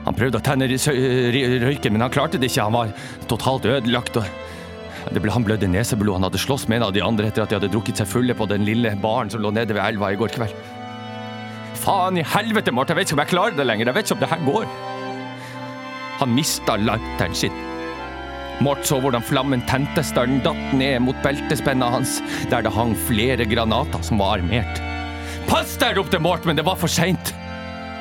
Speaker 2: Han prøvde å tenne røy- røy- røyken, men han klarte det ikke. Han var totalt ødelagt. og Det ble, han blødde neseblod. Han hadde slåss med en av de andre etter at de hadde drukket seg fulle på den lille baren som lå nede ved elva i går kveld. Faen i helvete, Marte. Jeg vet ikke om jeg klarer det lenger. Jeg vet ikke om det her går. Han mista latteren sin. Mort så hvordan flammen tentes da den datt ned mot beltespenna hans, der det hang flere granater som var armert. Pass deg! ropte Mort, men det var for seint.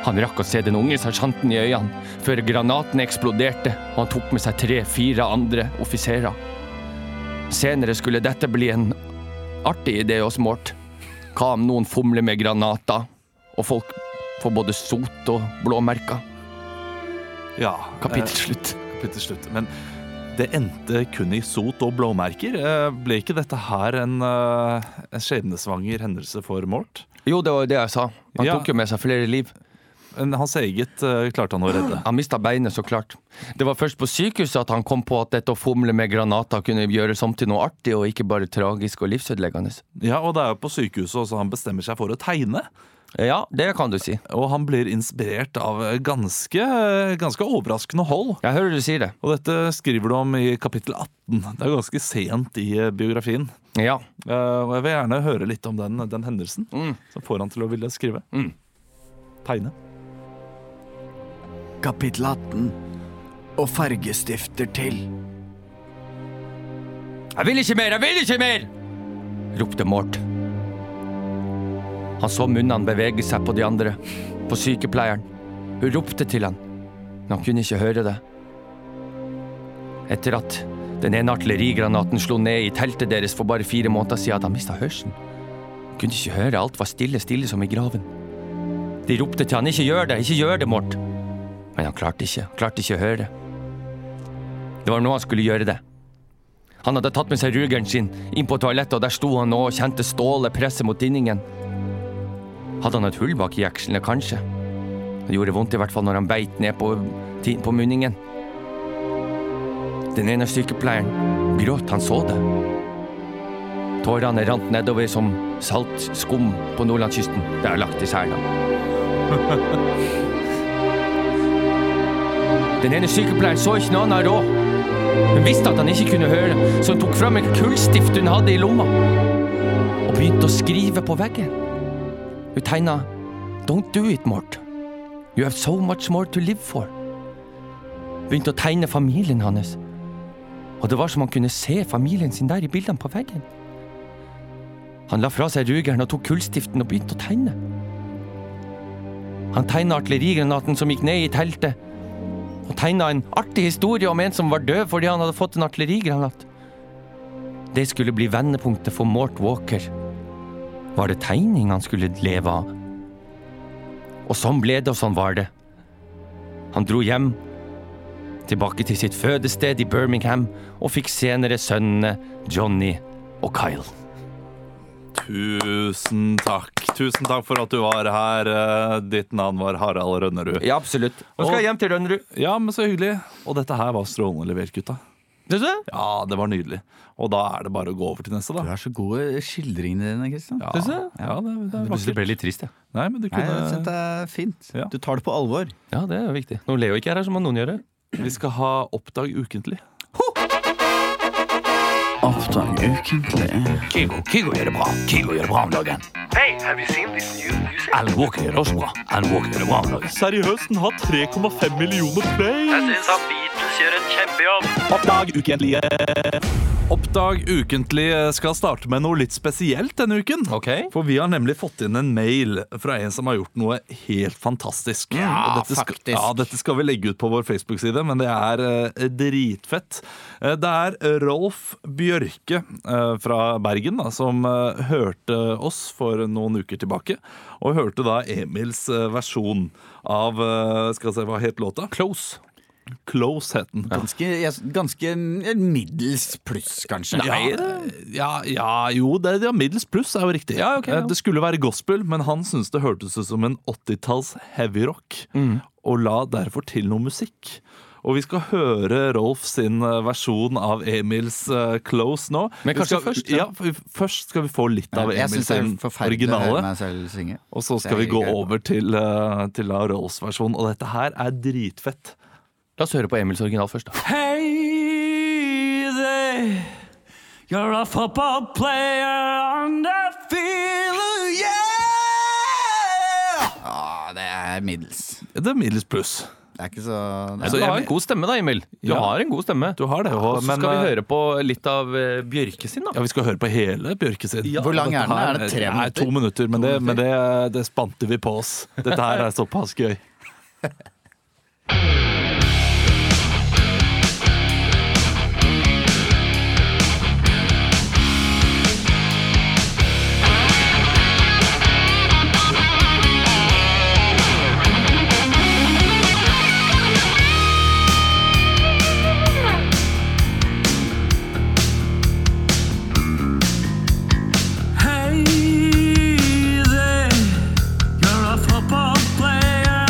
Speaker 2: Han rakk å se den unge sersjanten i øynene før granaten eksploderte, og han tok med seg tre-fire andre offiserer. Senere skulle dette bli en artig idé hos Mort. Hva om noen fomler med granater, og folk får både sot og blåmerker?
Speaker 1: Ja,
Speaker 2: Kapittel
Speaker 1: eh,
Speaker 2: slutt.
Speaker 1: kapittel slutt. Men det endte kun i sot og blåmerker. Eh, Ble ikke dette her en, eh, en skjebnesvanger hendelse for Mort?
Speaker 2: Jo, det var jo det jeg sa. Han
Speaker 1: Ja.
Speaker 2: tok jo med seg flere liv.
Speaker 1: Men Hans eget eh, klarte han å redde.
Speaker 2: Han mista beinet, så klart. Det var først på sykehuset at han kom på at dette å fomle med granater kunne gjøres om til noe artig, og ikke bare tragisk og livsødeleggende.
Speaker 1: Ja, Og det er jo på sykehuset også han bestemmer seg for å tegne.
Speaker 2: Ja, det kan du si.
Speaker 1: Og han blir inspirert av eh, ganske, eh, ganske overraskende hold.
Speaker 2: Jeg hører du sier det.
Speaker 1: Og dette skriver du om i kapittel 18. Det er ganske sent i eh, biografien.
Speaker 2: Ja.
Speaker 1: Eh, Og jeg vil gjerne høre litt om den, den hendelsen som får han til å ville skrive.
Speaker 2: Mm.
Speaker 1: Tegne.
Speaker 3: Kapittel 18 Og fargestifter til.
Speaker 2: Jeg vil ikke mer! Jeg vil ikke mer! ropte Mort. Han så munnene bevege seg på de andre, på sykepleieren. Hun ropte til han, men han kunne ikke høre det. Etter at den ene artillerigranaten slo ned i teltet deres for bare fire måneder siden, hadde han mista hørselen. Han kunne ikke høre, alt var stille, stille som i graven. De ropte til han, ikke gjør det, ikke gjør det, Mort. Men han klarte ikke, han klarte ikke å høre. Det var nå han skulle gjøre det. Han hadde tatt med seg rugeren sin inn på toalettet, og der sto han nå og kjente stålet presse mot dinningen. Hadde han et hull bak i jekslene, kanskje? Det gjorde vondt i hvert fall når han beit ned på, ti- på munningen. Den ene sykepleieren gråt, han så det. Tårene rant nedover som salt skum på nordlandskysten. Det er lagt i sela. Den ene sykepleieren så ikke noe annet råd. Hun visste at han ikke kunne høre, så hun tok fram et kullstift hun hadde i lomma, og begynte å skrive på veggen. Hun tegna Don't do it, Mort. You have so much more to live for. Begynte å tegne familien hans. og det var som han kunne se familien sin der i bildene på veggen. Han la fra seg rugeren og tok kullstiften og begynte å tegne. Han tegna artillerigranaten som gikk ned i teltet, og tegna en artig historie om en som var død fordi han hadde fått en artillerigranat. Det skulle bli vendepunktet for Mort Walker. Var det tegning han skulle leve av? Og sånn ble det, og sånn var det. Han dro hjem, tilbake til sitt fødested i Birmingham, og fikk senere sønnene Johnny og Kyle.
Speaker 1: Tusen takk. Tusen takk for at du var her. Eh, Ditt navn var Harald Rønnerud.
Speaker 2: Ja, absolutt. Nå skal jeg hjem til Rønnerud.
Speaker 1: Ja, men så hyggelig. Og dette her var strålende levert, gutta.
Speaker 2: Syns du det?
Speaker 1: Ja, det var nydelig. Og da er det bare å gå over til neste,
Speaker 3: Du
Speaker 1: da.
Speaker 3: er så god i skildringene dine, Kristian.
Speaker 1: Ja,
Speaker 2: Synes du?
Speaker 1: ja det, det er
Speaker 2: Jeg synes det
Speaker 1: vakkert.
Speaker 2: ble litt trist, jeg.
Speaker 1: Nei, men du
Speaker 3: Nei, jeg synes
Speaker 1: kunne
Speaker 3: det er fint.
Speaker 1: Ja.
Speaker 3: Du tar det på alvor.
Speaker 2: Ja, det er jo viktig. Når Leo ikke er her, så må noen gjøre det.
Speaker 1: Vi skal ha Oppdag ukentlig.
Speaker 3: Oppdag ukentlig.
Speaker 2: Kygo, Kygo gjør det bra. Kygo gjør det bra om dagen. Alan Walker gjør det også bra. Alan Walker gjør det bra om dagen.
Speaker 1: Seriøst, den har 3,5 millioner play!
Speaker 2: Oppdag ukentlige.
Speaker 1: Oppdag ukentlig eh, skal starte med noe litt spesielt denne uken.
Speaker 2: Ok.
Speaker 1: For vi har nemlig fått inn en mail fra en som har gjort noe helt fantastisk.
Speaker 2: Ja,
Speaker 1: Og dette skal,
Speaker 2: faktisk.
Speaker 1: Ja, dette skal vi legge ut på vår Facebook-side, men det er eh, dritfett. Eh, Det er Rolf Bjørke eh, fra Bergen da, som eh, hørte oss for noen uker tilbake, og hørte da Emils eh, versjon av, eh, skal jeg se, hva het låta? Close. Close het den.
Speaker 3: Ganske, jeg- ganske middels pluss, kanskje.
Speaker 1: Ja, eh, ja, ja, jo, det, ja, middels pluss er jo riktig. Eh, Det skulle være gospel, men han syntes det hørtes ut som en 80-talls heavyrock, og la derfor til noe musikk. Og vi skal høre Rolf sin eh, versjon av Emils eh, Close nå.
Speaker 2: Men
Speaker 1: Vi
Speaker 2: kanskje
Speaker 1: skal,
Speaker 2: først,
Speaker 1: Ja.
Speaker 2: ja.
Speaker 1: for vi- først skal vi få litt av
Speaker 3: Jeg
Speaker 1: Emils
Speaker 3: syns det er
Speaker 1: sin
Speaker 3: forferdelig å høre
Speaker 1: originale.
Speaker 3: meg selv synge.
Speaker 1: Og så skal
Speaker 3: Det
Speaker 1: vi
Speaker 3: er
Speaker 1: gå
Speaker 3: greit.
Speaker 1: over til, eh, til da Rolfs versjon, og dette her er dritfett.
Speaker 2: La oss høre på Emils original først, da.
Speaker 7: Hey there, you're a football player on the field, yeah!
Speaker 3: Ja, det er middels.
Speaker 1: Det er middels pluss.
Speaker 3: Det er ikke så det er
Speaker 2: Du har en god stemme da, Emil. Du
Speaker 1: Ja.
Speaker 2: har en god stemme.
Speaker 1: Du har det, eh, og,
Speaker 2: Og så skal
Speaker 5: eh,
Speaker 2: vi høre på litt av eh, Bjørke sin, da.
Speaker 1: Ja, Vi skal høre på hele Bjørke sin.
Speaker 3: Hvor lang er den? Er det tre
Speaker 1: Nei, to minutter, men, det, men det, det spante vi på oss. Dette her er såpass gøy.
Speaker 7: Hey there, you're a football player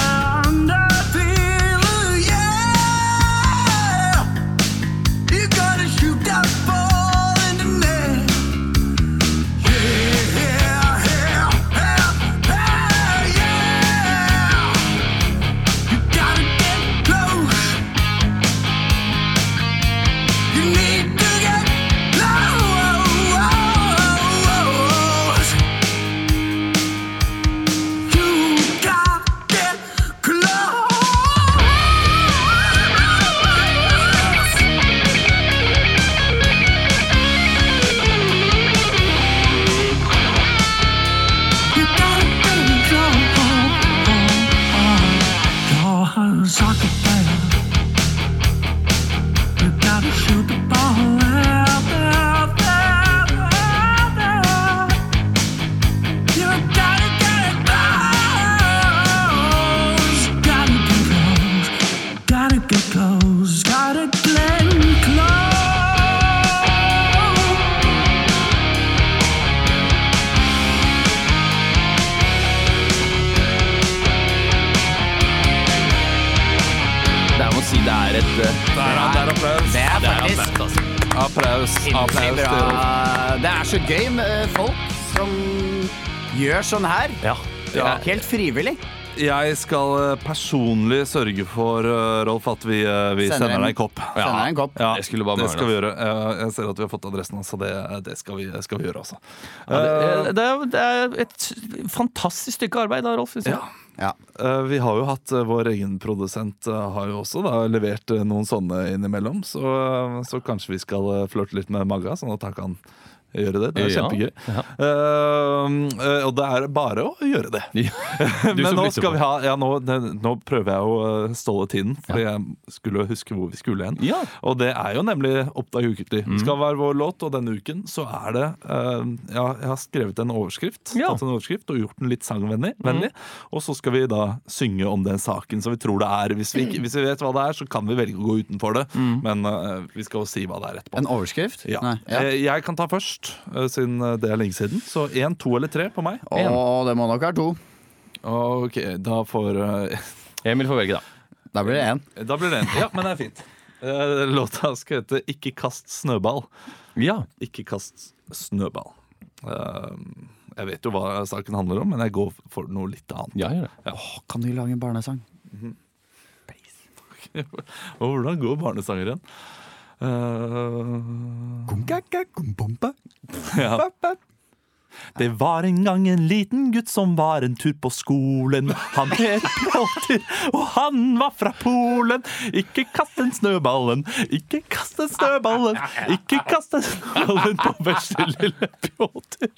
Speaker 7: on the field, yeah! You gotta shoot that ball in the net. Yeah, yeah, yeah, yeah, yeah! You gotta get close. You need to get close. You got get close. You gotta get close. You're a soccer player. You gotta shoot the ball out out, out, out, out. You gotta get it close. Gotta get close. Gotta get close. Gotta get close.
Speaker 2: Det er, må si, det er et eh,
Speaker 1: applaus.
Speaker 3: Det er faktisk
Speaker 2: altså.
Speaker 1: Applaus.
Speaker 3: Inntil
Speaker 1: applaus til Rolf.
Speaker 3: bra. Det er så gøy med eh, folk som gjør sånn her.
Speaker 1: Ja.
Speaker 3: Helt frivillig.
Speaker 1: Jeg skal eh, personlig sørge for, eh, Rolf, at vi, eh, vi
Speaker 3: Sender
Speaker 1: sender
Speaker 3: en-
Speaker 1: deg en kopp.
Speaker 3: sender deg en kopp.
Speaker 1: Ja,
Speaker 2: Det skulle bare
Speaker 1: det
Speaker 2: mangle,
Speaker 1: skal vi gjøre. Eh, Jeg ser at vi har fått adressen, hans, så det, eh, det skal, vi, skal vi gjøre, altså.
Speaker 2: Eh, det, er- det er et fantastisk stykke arbeid da, Rolf. synes jeg.
Speaker 1: Ja,
Speaker 3: Ja.
Speaker 1: Eh, Vi har jo hatt eh, vår egen produsent eh, har jo også da, levert eh, noen sånne innimellom. Så, eh, så kanskje vi skal eh, flørte litt med Magga, sånn at han kan gjøre det. Det er
Speaker 5: Ja.
Speaker 1: kjempegøy. Eh, eh, og det er bare å gjøre det.
Speaker 5: Du
Speaker 1: Men
Speaker 5: som
Speaker 1: nå
Speaker 5: bryter
Speaker 1: skal
Speaker 5: på.
Speaker 1: vi ha ja, nå, det- nå prøver jeg å eh, ståle tiden, Fordi jeg skulle jo huske hvor vi skulle hen.
Speaker 5: Ja. Mm.
Speaker 1: Og det er jo nemlig Oppdag ukentlig. Det skal være vår låt, og denne uken så er det eh, ja, Jeg har skrevet en overskrift,
Speaker 5: Ja. Mm.
Speaker 1: tatt en overskrift og gjort den litt sangvennlig. vennlig. Og så skal vi da synge om den saken som vi tror det er. Hvis vi, ikke- hvis vi vet hva det er, så kan vi velge å gå utenfor det,
Speaker 5: Mm.
Speaker 1: men eh, vi skal jo si hva det er etterpå.
Speaker 3: En overskrift?
Speaker 1: Ja.
Speaker 3: Nei, ja.
Speaker 1: Eh, Jeg kan ta først, eh, siden eh, det er lenge siden. Så én, to eller tre på meg.
Speaker 3: Å, det må nok være to.
Speaker 1: Ok, da får eh,
Speaker 5: Emil får velge, da.
Speaker 3: Da blir det én.
Speaker 1: Da blir det en. Ja, men det er fint. Eh, Låta skal hete Ikke kast snøball.
Speaker 5: Ja.
Speaker 1: Ikke kast snøball. Eh, Jeg vet jo hva saken handler om, men jeg går for noe litt annet.
Speaker 5: ja, gjør det.
Speaker 3: Kan du lage en barnesang?
Speaker 1: Og hvordan går barnesangeren? Eh, ja. Det var en gang en liten gutt som var en tur på skolen. Han het Plotter, og han var fra Polen. Ikke kast den snøballen, ikke kast den snøballen, ikke kast den snøballen på vesle lille Pjotter.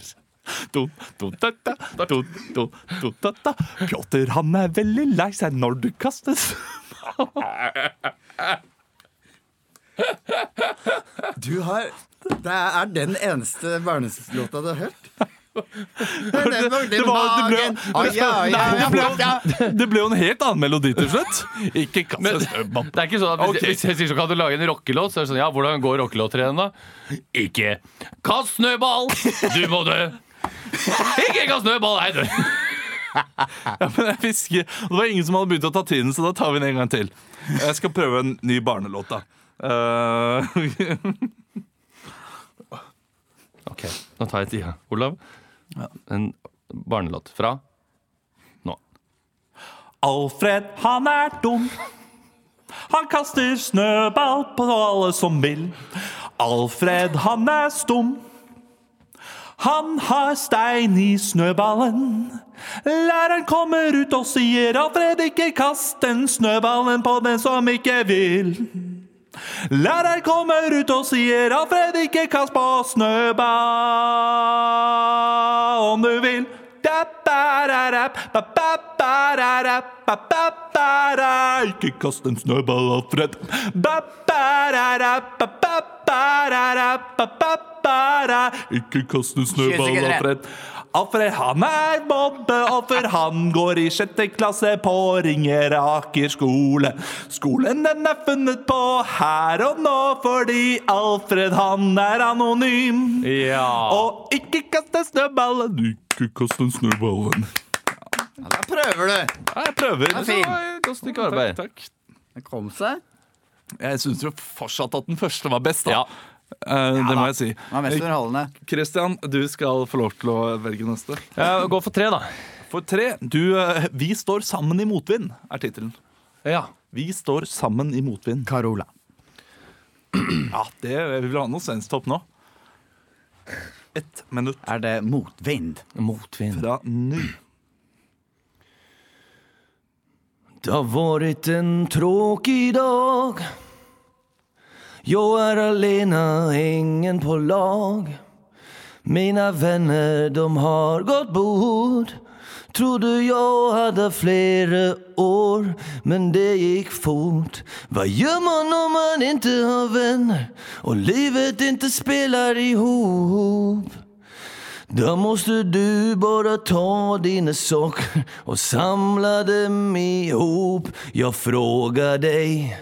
Speaker 1: Pjotter, han er veldig lei seg når du kaster snøballen.
Speaker 3: Du har Det er den eneste barnesanglåta du har hørt. Det var- det var-
Speaker 1: det ble-
Speaker 3: Ai, ai, ai,
Speaker 1: Nei, det ble-
Speaker 3: ja.
Speaker 1: Det ble jo en helt annen melodi til slutt. Ikke kast en snøball.
Speaker 5: Det er ikke sånn at Hvis,
Speaker 1: Ok.
Speaker 5: hvis jeg sier så kan du lage en rockelåt, så er det sånn Ja, hvordan går rockelåttrenen, da? Ikke kast snøball! Du må dø! Ikke kast snøball! Nei, dø!
Speaker 1: Men jeg fisker. Og det var ingen som hadde begynt å ta tiden, så da tar vi den en gang til. Jeg skal prøve en ny barnelåt, da. Eh,
Speaker 5: OK, nå tar jeg tida. Olav, en barnelåt fra nå.
Speaker 1: Alfred, han er dum. Han kaster snøball på alle som vil. Alfred, han er stum. Han har stein i snøballen. Læreren kommer ut og sier Alfred, ikke kast den snøballen på den som ikke vil. Læreren kommer ut og sier Alfred, ikke kast på snøball om du vil. Da, ba, da, da, ba, ba, ba, da, da, ba, ba, ba, da. Ikke kast en snøball, Alfred. Ba, ba, da, da, ba, ba, ba, da, da, ba, ba, ba, da. Ikke kast en snøball,
Speaker 3: sekunder.
Speaker 1: Alfred. Alfred han er mobbeoffer, han går i sjette klasse på Ringeraker skole. Skolen den er funnet på her og nå fordi Alfred han er anonym.
Speaker 5: Ja.
Speaker 1: Og ikke kast en snøball. Ikke kast en snøball.
Speaker 3: Da prøver du.
Speaker 1: Jeg prøver.
Speaker 3: er fin.
Speaker 5: Godt stykke arbeid.
Speaker 1: Takk.
Speaker 3: Det kom seg.
Speaker 1: Jeg syns jo fortsatt at den første var best, da.
Speaker 5: Ja.
Speaker 1: Eh, det må jeg si.
Speaker 3: Det var mest underholdende.
Speaker 1: Christian, du skal få lov til å velge neste.
Speaker 5: Ja, Gå for tre, da.
Speaker 1: For tre, du, eh, Vi står sammen i motvind, er tittelen.
Speaker 5: Ja.
Speaker 1: Vi står sammen i motvind.
Speaker 3: Carola.
Speaker 1: Ja, det, eh, Vi vil ha noe svensktopp nå. Ett minutt
Speaker 3: Er det motvind?
Speaker 5: Motvind.
Speaker 1: fra nå.
Speaker 5: Det har varit en tråkig dag Jag är alena, ingen på lag Mina vänner, de har gått bort Trodde jag hade flera år Men det gick fort Vad gör man om man inte har vänner Och livet inte spelar ihop Da måste du bara ta dina socker och samla dem ihop. Jag frågar dig,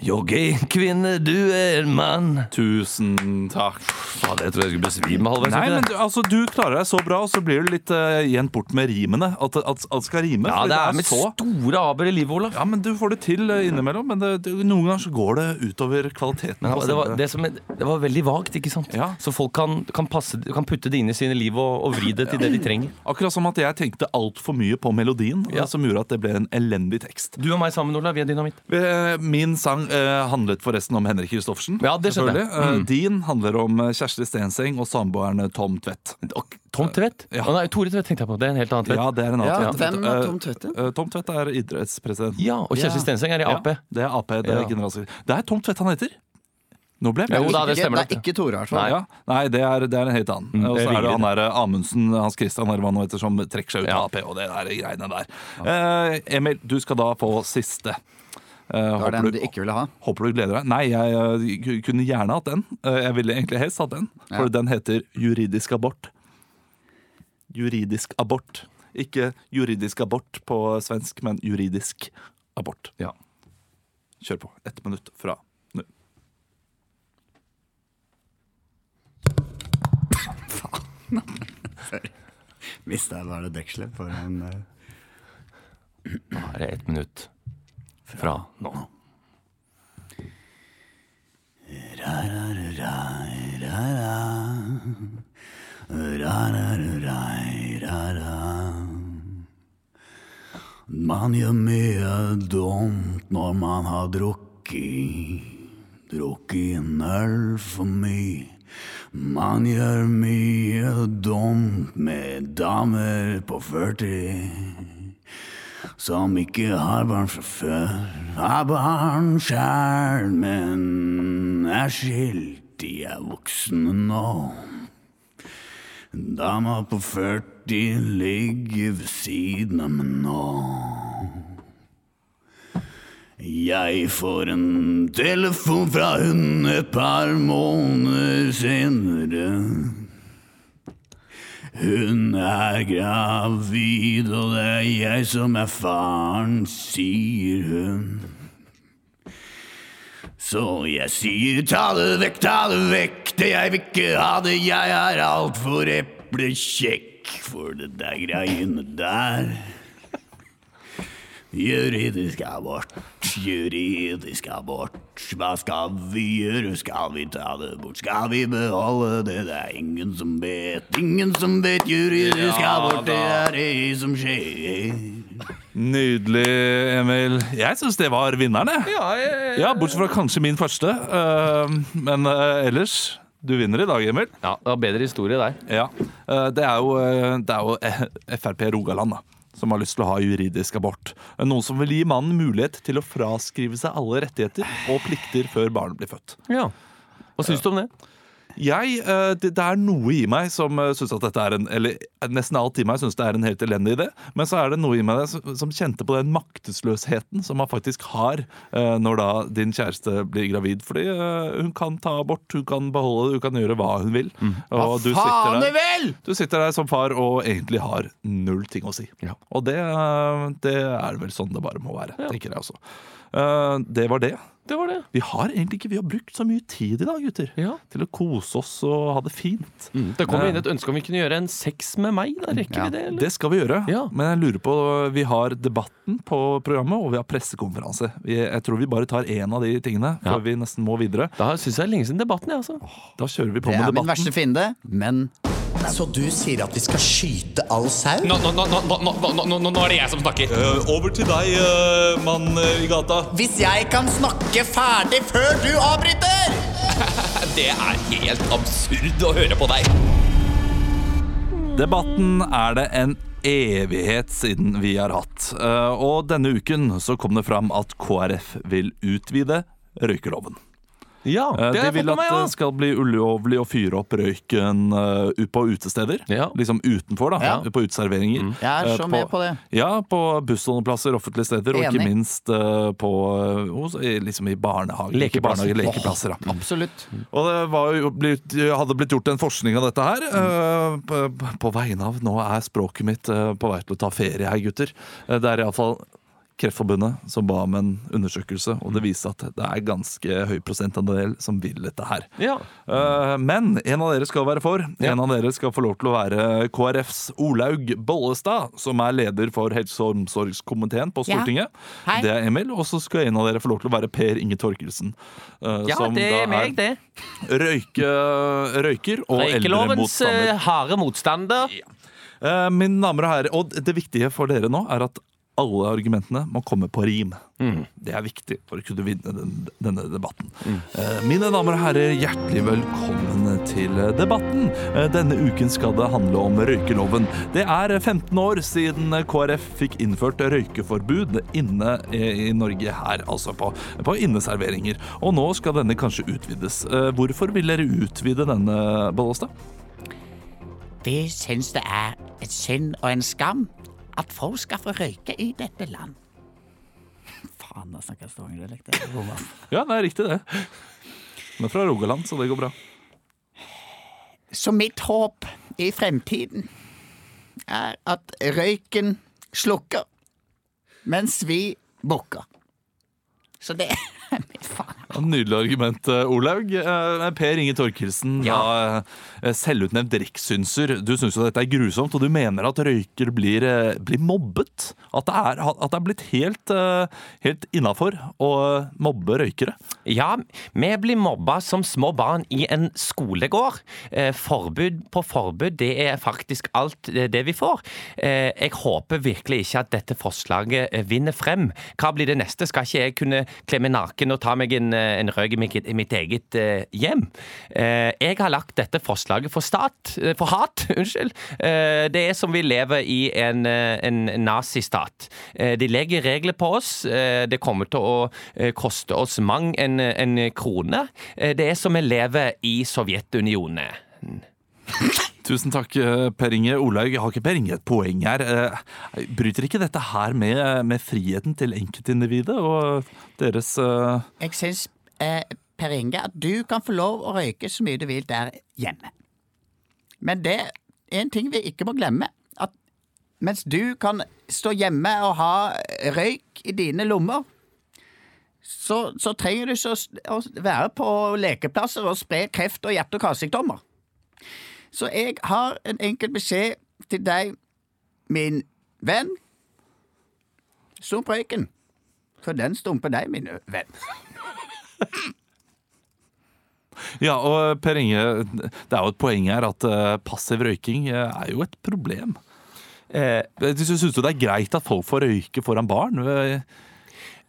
Speaker 5: Jag är en kvinna, du är en man.
Speaker 1: Tusen takk. Faen, jeg tror jeg skulle besvime halvveis.
Speaker 5: Nei,
Speaker 1: vet
Speaker 5: men
Speaker 1: du, altså, du klarer deg så bra, og så blir du litt uh, jevnt bort med rimene. At alt skal rime.
Speaker 5: Ja,
Speaker 1: fordi
Speaker 5: det er med store aber i livet, Olav.
Speaker 1: Ja, men Du får det til eh, innimellom, men det, det, noen ganger så går det utover kvaliteten.
Speaker 5: Men
Speaker 1: på
Speaker 5: det, var,
Speaker 1: sendere.
Speaker 5: det, som, det var veldig vagt, ikke sant?
Speaker 1: Ja.
Speaker 5: Så folk kan, kan, passe, kan putte det inn i sine liv og, og vri det til det de trenger.
Speaker 1: Akkurat som at jeg tenkte altfor mye på melodien, eh,
Speaker 5: Ja.
Speaker 1: som gjorde at det ble en elendig tekst.
Speaker 5: Du og meg sammen, Olav, vi er dynamitt.
Speaker 1: Eh, Min sang eh, handlet forresten om Henrik Kristoffersen.
Speaker 5: Ja, det skjønte jeg. Mm.
Speaker 1: selvfølgelig. Eh, Din handler om eh, Kjersti Stenseng og samboeren Tom Tvedt.
Speaker 5: Og Tom Tvedt?
Speaker 1: Ja.
Speaker 5: Å nei, Tore Tvedt tenkte jeg på. Det er en helt annen Tvedt.
Speaker 1: Ja, det er en annen
Speaker 8: Ja,
Speaker 1: Tvedt.
Speaker 8: hvem er Tom
Speaker 1: Eh,
Speaker 8: Tvedt?
Speaker 1: eh, Tom Tvedt er idrettspresident.
Speaker 5: Ja, og Kjersti
Speaker 8: Ja.
Speaker 5: Stenseng er i Ap.
Speaker 1: Det er Ap. Det er
Speaker 5: Ja.
Speaker 1: generalsekretær. Det er Tom Tvedt han heter! Nå ble jeg
Speaker 5: Jo da, det
Speaker 8: Ikke-
Speaker 5: stemmer
Speaker 8: Det er
Speaker 5: nok.
Speaker 8: ikke Tore, i hvert
Speaker 1: Nei,
Speaker 8: fall.
Speaker 1: ja. Nei det, er, det er en helt annen.
Speaker 5: Mm,
Speaker 1: og
Speaker 5: det
Speaker 1: så er det
Speaker 5: ringer.
Speaker 1: han der eh, Amundsen, Hans Christian eller hva han nå heter, som trekker seg ut
Speaker 5: Ja.
Speaker 1: av Ap og det der greiene der. Eh, Emil, du skal da få siste. Eh,
Speaker 8: Det var
Speaker 1: håper,
Speaker 8: den
Speaker 1: du,
Speaker 8: du ikke ville ha.
Speaker 1: håper du gleder deg. Nei, jeg eh, ku- kunne gjerne hatt den. Eh, jeg ville egentlig helst hatt den,
Speaker 8: Ja.
Speaker 1: for den heter juridisk abort. Juridisk abort. Ikke juridisk abort på svensk, men juridisk abort.
Speaker 5: Ja.
Speaker 1: Kjør på. Ett minutt fra nå.
Speaker 3: Hvis det var det dekselet for en eh,
Speaker 5: Nå er det ett minutt fra nå.
Speaker 3: Man gjør mye dumt når man har drukket. Drukket en øl for mye. Man gjør mye dumt med damer på 40 som ikke har barn fra før. Har barn sjæl, men er skilt. De er voksne nå. Dama på 40 ligger ved siden av meg nå. Jeg får en telefon fra hun et par måneder senere. Hun er gravid, og det er jeg som er faren, sier hun. Så jeg sier ta det vekk, ta det vekk, det jeg vil ikke ha det, jeg er altfor eplekjekk for det der greiene der. Juridisk abort, juridisk abort. Hva skal vi gjøre? Skal vi ta det bort? Skal vi beholde det? Det er ingen som vet, ingen som vet. Juridisk abort, det er det som skjer.
Speaker 1: Nydelig, Emil. Jeg syns det var vinneren, jeg. Ja, bortsett fra kanskje min første. Eh, men eh, ellers du vinner i dag, Emil.
Speaker 5: Ja, det var bedre historie der.
Speaker 1: Ja. Eh, det er jo, eh, det er jo eh, Frp Rogaland da, som har lyst til å ha juridisk abort. Eh, Noen som vil gi mannen mulighet til å fraskrive seg alle rettigheter og plikter før barnet blir født.
Speaker 5: Ja. Hva syns du om det?
Speaker 1: Jeg, eh, det, det er noe i meg som eh, synes at dette er en Eller eh, nesten alt i meg synes det er en helt elendig idé, men så er det noe i meg som, som kjente på den maktesløsheten som man faktisk har eh, når da din kjæreste blir gravid. Fordi eh, hun kan ta abort, hun kan beholde det, hun kan gjøre Mm. hva hun vil. Og du sitter, der,
Speaker 8: vel!
Speaker 1: du sitter der som far og egentlig har null ting å si.
Speaker 5: Ja.
Speaker 1: Og det, eh, det er vel sånn det bare må være, tenker jeg også. Eh, det var det.
Speaker 5: Det var det.
Speaker 1: Vi har egentlig ikke vi har brukt så mye tid i dag, gutter
Speaker 5: Ja.
Speaker 1: til å kose oss og ha det fint.
Speaker 5: Det kom inn et ønske om vi kunne gjøre en sex med meg. Da rekker vi det, eller?
Speaker 1: Det skal vi gjøre,
Speaker 5: Ja.
Speaker 1: men jeg lurer på Vi har debatten på programmet, og vi har pressekonferanse. Vi- Jeg tror vi bare tar én av de tingene,
Speaker 5: Ja.
Speaker 1: for vi nesten må videre.
Speaker 5: Da syns jeg det er lenge siden debatten, jeg, altså.
Speaker 1: Da kjører vi på
Speaker 8: Det er
Speaker 1: med
Speaker 8: min
Speaker 1: debatten.
Speaker 8: verste fiende, men
Speaker 9: Så du sier at vi skal skyte all sau?
Speaker 5: Nå er det jeg som snakker.
Speaker 1: Eh, over til deg, eh, mann i gata.
Speaker 9: Hvis jeg kan snakke ferdig før du avbryter!
Speaker 5: Det er helt absurd å høre på deg.
Speaker 1: Debatten er det en evighet siden vi har hatt. Eh, Og denne uken så kom det fram at KrF vil utvide røykeloven.
Speaker 5: Ja,
Speaker 1: Eh,
Speaker 5: det
Speaker 1: De
Speaker 5: har jeg
Speaker 1: vil
Speaker 5: fått med
Speaker 1: at
Speaker 5: meg,
Speaker 1: det
Speaker 5: ja.
Speaker 1: skal bli ulovlig å fyre opp røyken eh, ut på utesteder.
Speaker 5: Ja. Mm.
Speaker 1: Liksom utenfor, da.
Speaker 8: Ja.
Speaker 1: På uteserveringer.
Speaker 8: jeg
Speaker 1: Eh,
Speaker 8: er så med på det.
Speaker 1: Ja, på bussholdeplasser, offentlige steder, og ikke
Speaker 8: Enig.
Speaker 1: minst eh, på eh, hos, i- liksom i barnehage, ikke
Speaker 5: Lekeplasser.
Speaker 1: barnehage, lekeplasser. da.
Speaker 8: Absolutt.
Speaker 1: Og det var jo blitt, hadde blitt gjort en forskning av dette her. eh, på, på vegne av Nå er språket mitt eh, på vei til å ta ferie her, gutter. Eh, Det er iallfall Kreftforbundet som ba om en undersøkelse, og det viste at det er ganske høy prosentandel som vil dette her.
Speaker 2: Ja.
Speaker 1: Eh, men en av dere skal være for. En av dere skal få lov til å være KrFs Olaug Bollestad, som er leder for helse- og omsorgskomiteen på
Speaker 7: Ja.
Speaker 1: Stortinget.
Speaker 7: Hei.
Speaker 1: Det er Emil. Og så skal en av dere få lov til å være Per Inge Torkelsen. eh,
Speaker 2: Ja,
Speaker 1: som
Speaker 2: det
Speaker 1: da
Speaker 2: er meg, det.
Speaker 1: Røyke, røyker og
Speaker 2: Røykelovens
Speaker 1: eldremotstander.
Speaker 2: eh, harde motstander.
Speaker 1: Eh, mine damer og herrer, og det viktige for dere nå er at alle argumentene må komme på rim. Det er viktig for å kunne vinne den, denne debatten. Eh, Mine damer og herrer, hjertelig velkommen til debatten. Eh, Denne uken skal det handle om røykeloven. Det er 15 år siden KrF fikk innført røykeforbud inne i i Norge her, altså på, på inneserveringer. Og nå skal denne kanskje utvides. Eh, Hvorfor vil dere utvide denne, Bollestad?
Speaker 7: Det syns det er et synd og en skam at folk skal få røyke i dette land.
Speaker 3: Faen, da snakker jeg stavangerdialekt. jeg. Hvor var-
Speaker 1: Ja, det er riktig det. Men fra Rogaland, så det går bra.
Speaker 3: Så mitt håp i fremtiden er at røyken slukker mens vi bukker. Så det er mitt faen.
Speaker 1: Ja, Nydelig argument, eh, Olaug. Eh, Per Inge Torkelsen, da, eh, selvutnevnt rikssynser. Du syns jo dette er grusomt, og du mener at røyker blir, eh, blir mobbet? At det er, at det er blitt helt, eh, helt innafor å eh, mobbe røykere?
Speaker 2: Ja, vi blir mobba som små barn i en skolegård. Eh, forbud på forbud, det er faktisk alt eh, det vi får. Eh, jeg håper virkelig ikke at dette forslaget eh, vinner frem. Hva blir det neste? Skal ikke jeg kunne kle meg naken og ta meg en, eh, en røyk i mitt, i mitt eget eh, hjem? Eh, jeg har lagt dette forslaget for stat, eh, for hat, unnskyld. Eh, det er som vi lever i en, eh, en nazistat. Eh, de legger regler på oss. Eh, det kommer til å eh, koste oss mang en, en krone. Eh, det er som vi lever i Sovjetunionen.
Speaker 1: Tusen takk, eh, Per Inge. Olaug, har ikke Per Inge et poeng her? Eh, Bryter ikke dette her med, med friheten til enkeltindividet og deres eh,
Speaker 3: Jeg syns, eh, Per Inge, at du kan få lov å røyke så mye du vil der hjemme. Men det er en ting vi ikke må glemme. At mens du kan stå hjemme og ha røyk i dine lommer, så, så trenger du ikke å s- å være på lekeplasser og spre kreft og hjerte- og karsykdommer. Så jeg har en enkel beskjed til deg, min venn. Stump røyken, for den stumper deg, min venn.
Speaker 1: Ja, og Per Inge, det er jo et poeng her at eh, passiv røyking eh, er jo et problem.
Speaker 2: Eh,
Speaker 1: Syns du det er greit at folk får røyke foran barn? Eh,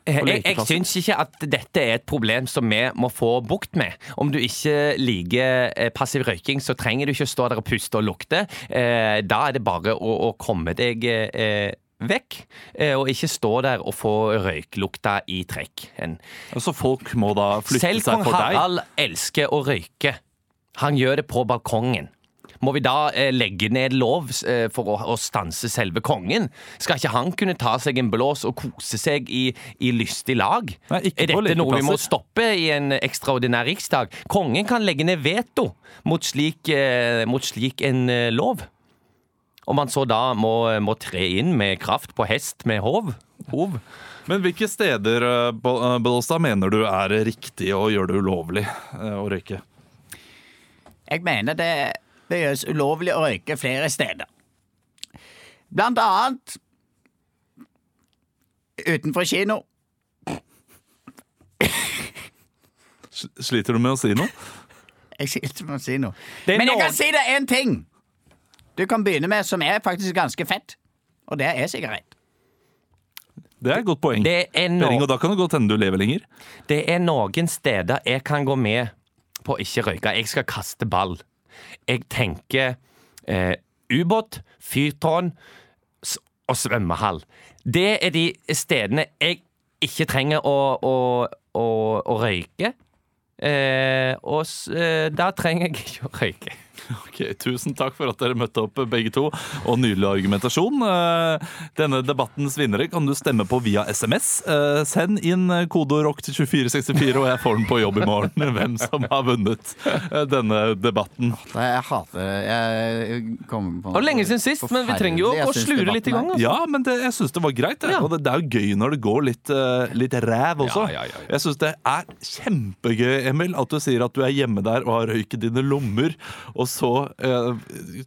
Speaker 2: Eh, Jeg, jeg
Speaker 1: lekeplasser.
Speaker 2: syns ikke at dette er et problem som vi må få bukt med. Om du ikke liker eh, passiv røyking, så trenger du ikke stå der og puste og lukte. Eh, Da er det bare å, å komme deg eh, vekk, eh, og ikke stå der og få røyklukta i trekk. En-
Speaker 1: Altså folk må da flytte
Speaker 2: Selv
Speaker 1: seg
Speaker 2: kong
Speaker 1: for deg?
Speaker 2: Harald elsker å røyke. Han gjør det på balkongen. Må vi da eh, legge ned lov eh, for å, å stanse selve kongen? Skal ikke han kunne ta seg en blås og kose seg i, i lystig lag?
Speaker 1: Nei, ikke
Speaker 2: er
Speaker 1: på
Speaker 2: dette noe vi må
Speaker 1: lekeplasser.
Speaker 2: stoppe i en ekstraordinær riksdag? Kongen kan legge ned veto mot slik, eh, mot slik en eh, lov. Om han så da må, eh, må tre inn med kraft på hest med hov. hov.
Speaker 1: Men hvilke steder eh, Bo- eh, Bollestad, mener du er riktig å gjøre det ulovlig eh, å røyke?
Speaker 3: Jeg mener det, det gjøres ulovlig å røyke flere steder. Blant annet utenfor kino.
Speaker 1: S- Sliter du med å si noe?
Speaker 3: Jeg sier ikke noe å si noe.
Speaker 2: Det er
Speaker 3: Men jeg
Speaker 2: noen-
Speaker 3: kan si deg én ting du kan begynne med, som er faktisk ganske fett. Og det er sigarett.
Speaker 1: Det er et godt poeng.
Speaker 2: Det er
Speaker 1: Per
Speaker 2: noe
Speaker 1: Inge, og da kan det godt hende du lever lenger.
Speaker 2: Det er noen steder jeg kan gå med på å ikke røyke. Jeg skal kaste ball. Jeg tenker eh, ubåt, fyrtårn s- og svømmehall. Det er de stedene jeg ikke trenger å, å, å, å røyke. Eh, og s- eh, da trenger jeg ikke å røyke.
Speaker 1: Ok, Tusen takk for at dere møtte opp begge to, og nydelig argumentasjon. Eh, Denne debattens vinnere kan du stemme på via SMS. Eh, Send inn kodeord ROCK til 2464, og jeg får den på jobb i morgen. Hvem som har vunnet eh, denne debatten.
Speaker 3: Jeg hater Jeg kommer på
Speaker 1: Det var lenge siden sist, men vi trenger jo
Speaker 3: forferdelig. Jeg
Speaker 1: å
Speaker 3: synes
Speaker 1: slure
Speaker 3: debatten
Speaker 1: litt i gang,
Speaker 3: er-
Speaker 1: altså. Ja, men det, jeg syns det var greit. jeg. Og det, det er jo gøy når det går litt, eh, litt ræv også.
Speaker 2: Ja, ja, ja,
Speaker 1: Jeg syns det er kjempegøy, Emil, at du sier at du er hjemme der og har røyk i dine lommer, og så eh,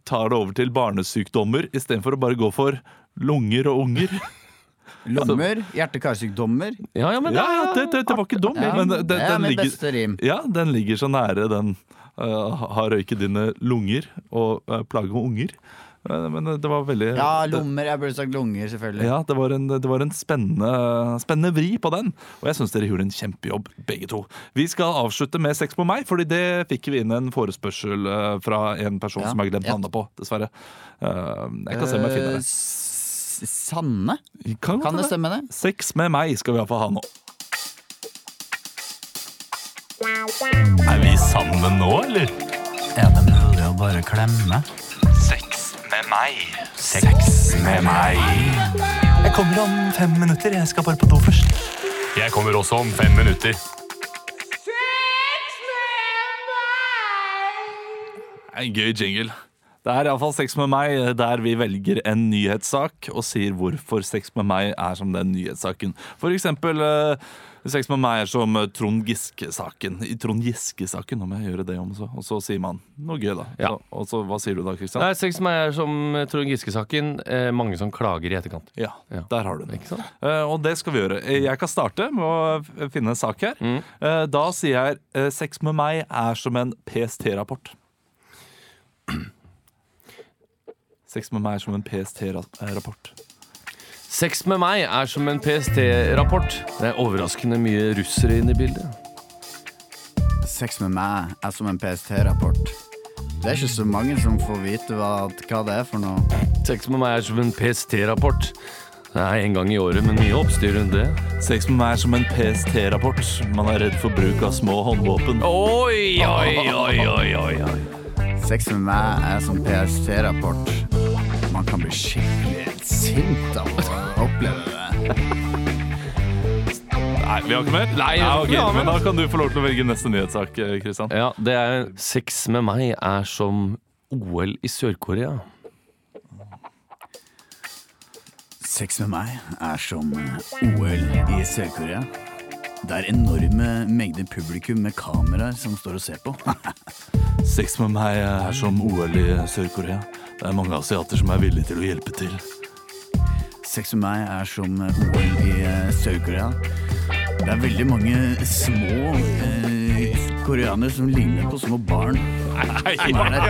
Speaker 1: tar det over til barnesykdommer istedenfor å bare gå for lunger og unger.
Speaker 3: Lommer, hjerte-karsykdommer.
Speaker 1: Ja, ja, men det, ja, det, det, det var ikke dum.
Speaker 3: Ja,
Speaker 1: men det,
Speaker 3: det er
Speaker 1: den
Speaker 3: mitt
Speaker 1: ligger,
Speaker 3: beste rim.
Speaker 1: Ja, den ligger så nære den eh, har røyk i dine lunger og eh, plage med unger. Eh, men det var veldig
Speaker 3: Ja,
Speaker 1: det-
Speaker 3: lommer. Jeg burde sagt lunger, selvfølgelig.
Speaker 1: Ja, det var en, det var en spennende, spennende vri på den. Og jeg syns dere gjorde en kjempejobb, begge to. Vi skal avslutte med Sex på meg, fordi det fikk vi inn en forespørsel eh, fra en person
Speaker 3: Ja.
Speaker 1: som har glemt
Speaker 3: Ja.
Speaker 1: navnet på, dessverre. Eh, jeg kan se om jeg finner
Speaker 3: Eh,
Speaker 1: det.
Speaker 3: S- Sanne?
Speaker 1: Kan, godt
Speaker 3: Eh, Kan det
Speaker 1: hende.
Speaker 3: stemme, det?
Speaker 1: Sex med meg skal vi iallfall ha nå. Er vi sammen nå, eller?
Speaker 10: Er det mulig å bare klemme?
Speaker 1: Sex med meg.
Speaker 10: Sex med meg. Jeg kommer om fem minutter. Jeg skal bare på do først.
Speaker 2: Jeg kommer også om fem minutter.
Speaker 1: En gøy jingle. Det er iallfall Sex med meg, eh, der vi velger en nyhetssak og sier hvorfor Sex med meg er som den nyhetssaken. For eksempel eh, Sex med meg er som eh, Trond Giske-saken. I Trond Giske-saken, nå må jeg gjøre det om så. Og så sier man noe gøy, da.
Speaker 2: Ja.
Speaker 1: Så, og så hva sier du da, Kristian?
Speaker 2: Nei, sex med meg er som eh, Trond Giske-saken. Eh, mange som klager i etterkant.
Speaker 1: Ja, der har du den.
Speaker 2: Ikke sant?
Speaker 1: Eh, og det skal vi gjøre. Eh, Jeg kan starte med å f- finne en sak her. Eh, da sier jeg eh, Sex med meg er som en PST-rapport. Sex med meg er som en PST-rapport.
Speaker 2: Sex med meg er som en PST-rapport. Det er overraskende mye russere inne i bildet.
Speaker 3: Sex med meg er som en PST-rapport. Det er ikke så mange som får vite hva, hva det er for noe.
Speaker 2: Sex med meg er som en PST-rapport. Det er en gang i året, men mye oppstyr rundt det.
Speaker 1: Sex med meg er som en PST-rapport. Man er redd for bruk av små håndvåpen. Ah,
Speaker 2: Oi, oi, oi, oi, oi, oi.
Speaker 3: Sex med meg er som PST-rapport. Man kan bli skikkelig sint av å oppleve det.
Speaker 1: Nei, vi har ikke mer?
Speaker 2: Nei,
Speaker 1: ja, ok,
Speaker 2: vi har mer.
Speaker 1: Men da kan du få lov til å velge neste nyhetssak, eh, Kristian.
Speaker 2: Ja, det er Sex med meg er som OL i Sør-Korea.
Speaker 11: Sex med meg er som OL i Sør-Korea. Det er enorme mengder publikum med kameraer som står og ser på.
Speaker 1: Sex med meg er som OL i Sør-Korea. Det er mange asiater som er villige til å hjelpe til.
Speaker 11: Sex med meg er som OL i eh, Sør-Korea. Det er veldig mange små eh, koreanere som ligner på små barn. Som er der.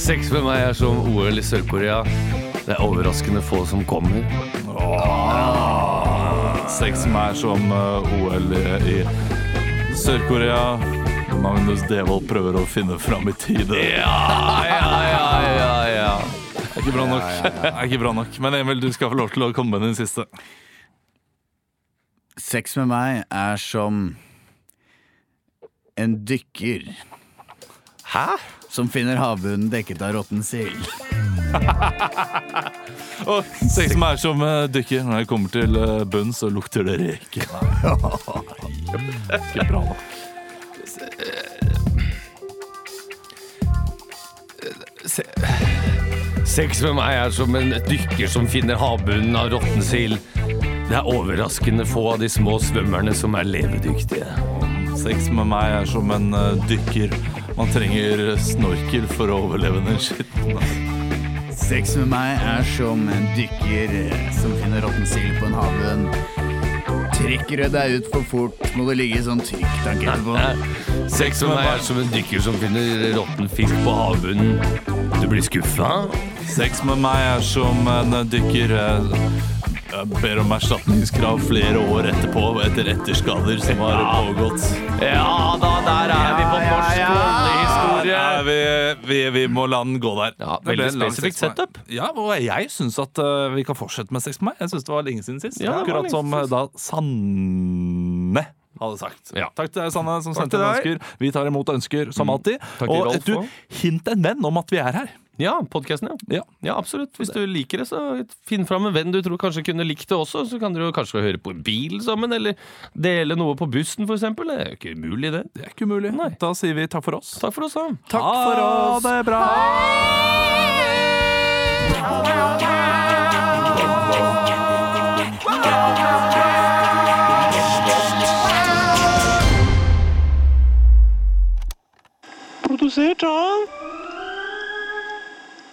Speaker 2: Sex med meg er som OL i Sør-Korea. Det er overraskende få som kommer.
Speaker 1: Sex med meg er som eh, OL i i Sør-Korea. Magnus Devold prøver å finne fram i tide. Det er ikke bra nok. Det er ikke bra nok. Men Emil, du skal få lov til å komme med din siste.
Speaker 11: Sex med meg er som en dykker
Speaker 2: Hæ?
Speaker 11: som finner havbunnen dekket av råtten sild.
Speaker 1: Og sex med meg er som eh, dykker. Når jeg kommer til eh, bunn, så lukter det reke. Ikke bra nok.
Speaker 2: Sex med meg er som en dykker som finner havbunnen av råtten sild. Det er overraskende få av de små svømmerne som er levedyktige.
Speaker 1: Sex med meg er som en eh, dykker. Man trenger snorkel for å overleve den skitten. ass.
Speaker 11: Sex med meg er som en dykker eh, som finner råtten sild på en havbunn. Trekker du deg ut for fort, må du ligge sånn trygt ankert på.
Speaker 2: Sex med meg er som en dykker som finner råtten fisk på havbunnen. Du blir skuffa?
Speaker 1: Sex med meg er som en eh, dykker. eh, Jeg ber om erstatningskrav flere år etterpå etter etterskader som har pågått.
Speaker 2: Ja da, der er vi på norsk
Speaker 1: Nei,
Speaker 2: oljehistorie.
Speaker 1: vi, vi, vi må la den gå der.
Speaker 2: Ja,
Speaker 1: Det ble
Speaker 2: veldig
Speaker 1: en lang
Speaker 2: spesifikt
Speaker 1: sex med meg.
Speaker 2: setup.
Speaker 1: Ja, og jeg syns at eh, vi kan fortsette med sex med meg. Jeg syns det var lenge siden sist.
Speaker 2: Ja, det var
Speaker 1: Akkurat
Speaker 2: lenge
Speaker 1: som
Speaker 2: siden
Speaker 1: eh, da eh, Sanne hadde sagt.
Speaker 2: Ja.
Speaker 1: Takk til deg, Sanne, som
Speaker 2: Takk
Speaker 1: sendte inn
Speaker 2: til deg. Mm.
Speaker 1: ønsker. Vi tar imot ønsker som alltid.
Speaker 2: Takk til
Speaker 1: Og
Speaker 2: Rolf
Speaker 1: du,
Speaker 2: også.
Speaker 1: hint en venn om at vi er her.
Speaker 2: Ja, podkasten, ja.
Speaker 1: Ja.
Speaker 2: Ja, absolutt. Hvis du liker det, så finn fram en venn du tror kanskje kunne likt det også. Så kan dere jo kanskje høre på en bil sammen, eller dele noe på bussen, for eksempel. Det er jo ikke umulig, det.
Speaker 1: Det er ikke umulig. Da sier vi takk for oss.
Speaker 2: Takk for oss, da.
Speaker 1: Takk for oss. Ha det bra.
Speaker 7: Produsert av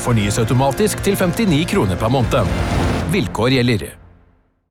Speaker 12: Fornyes automatisk til 59 kroner per måned. Vilkår gjelder.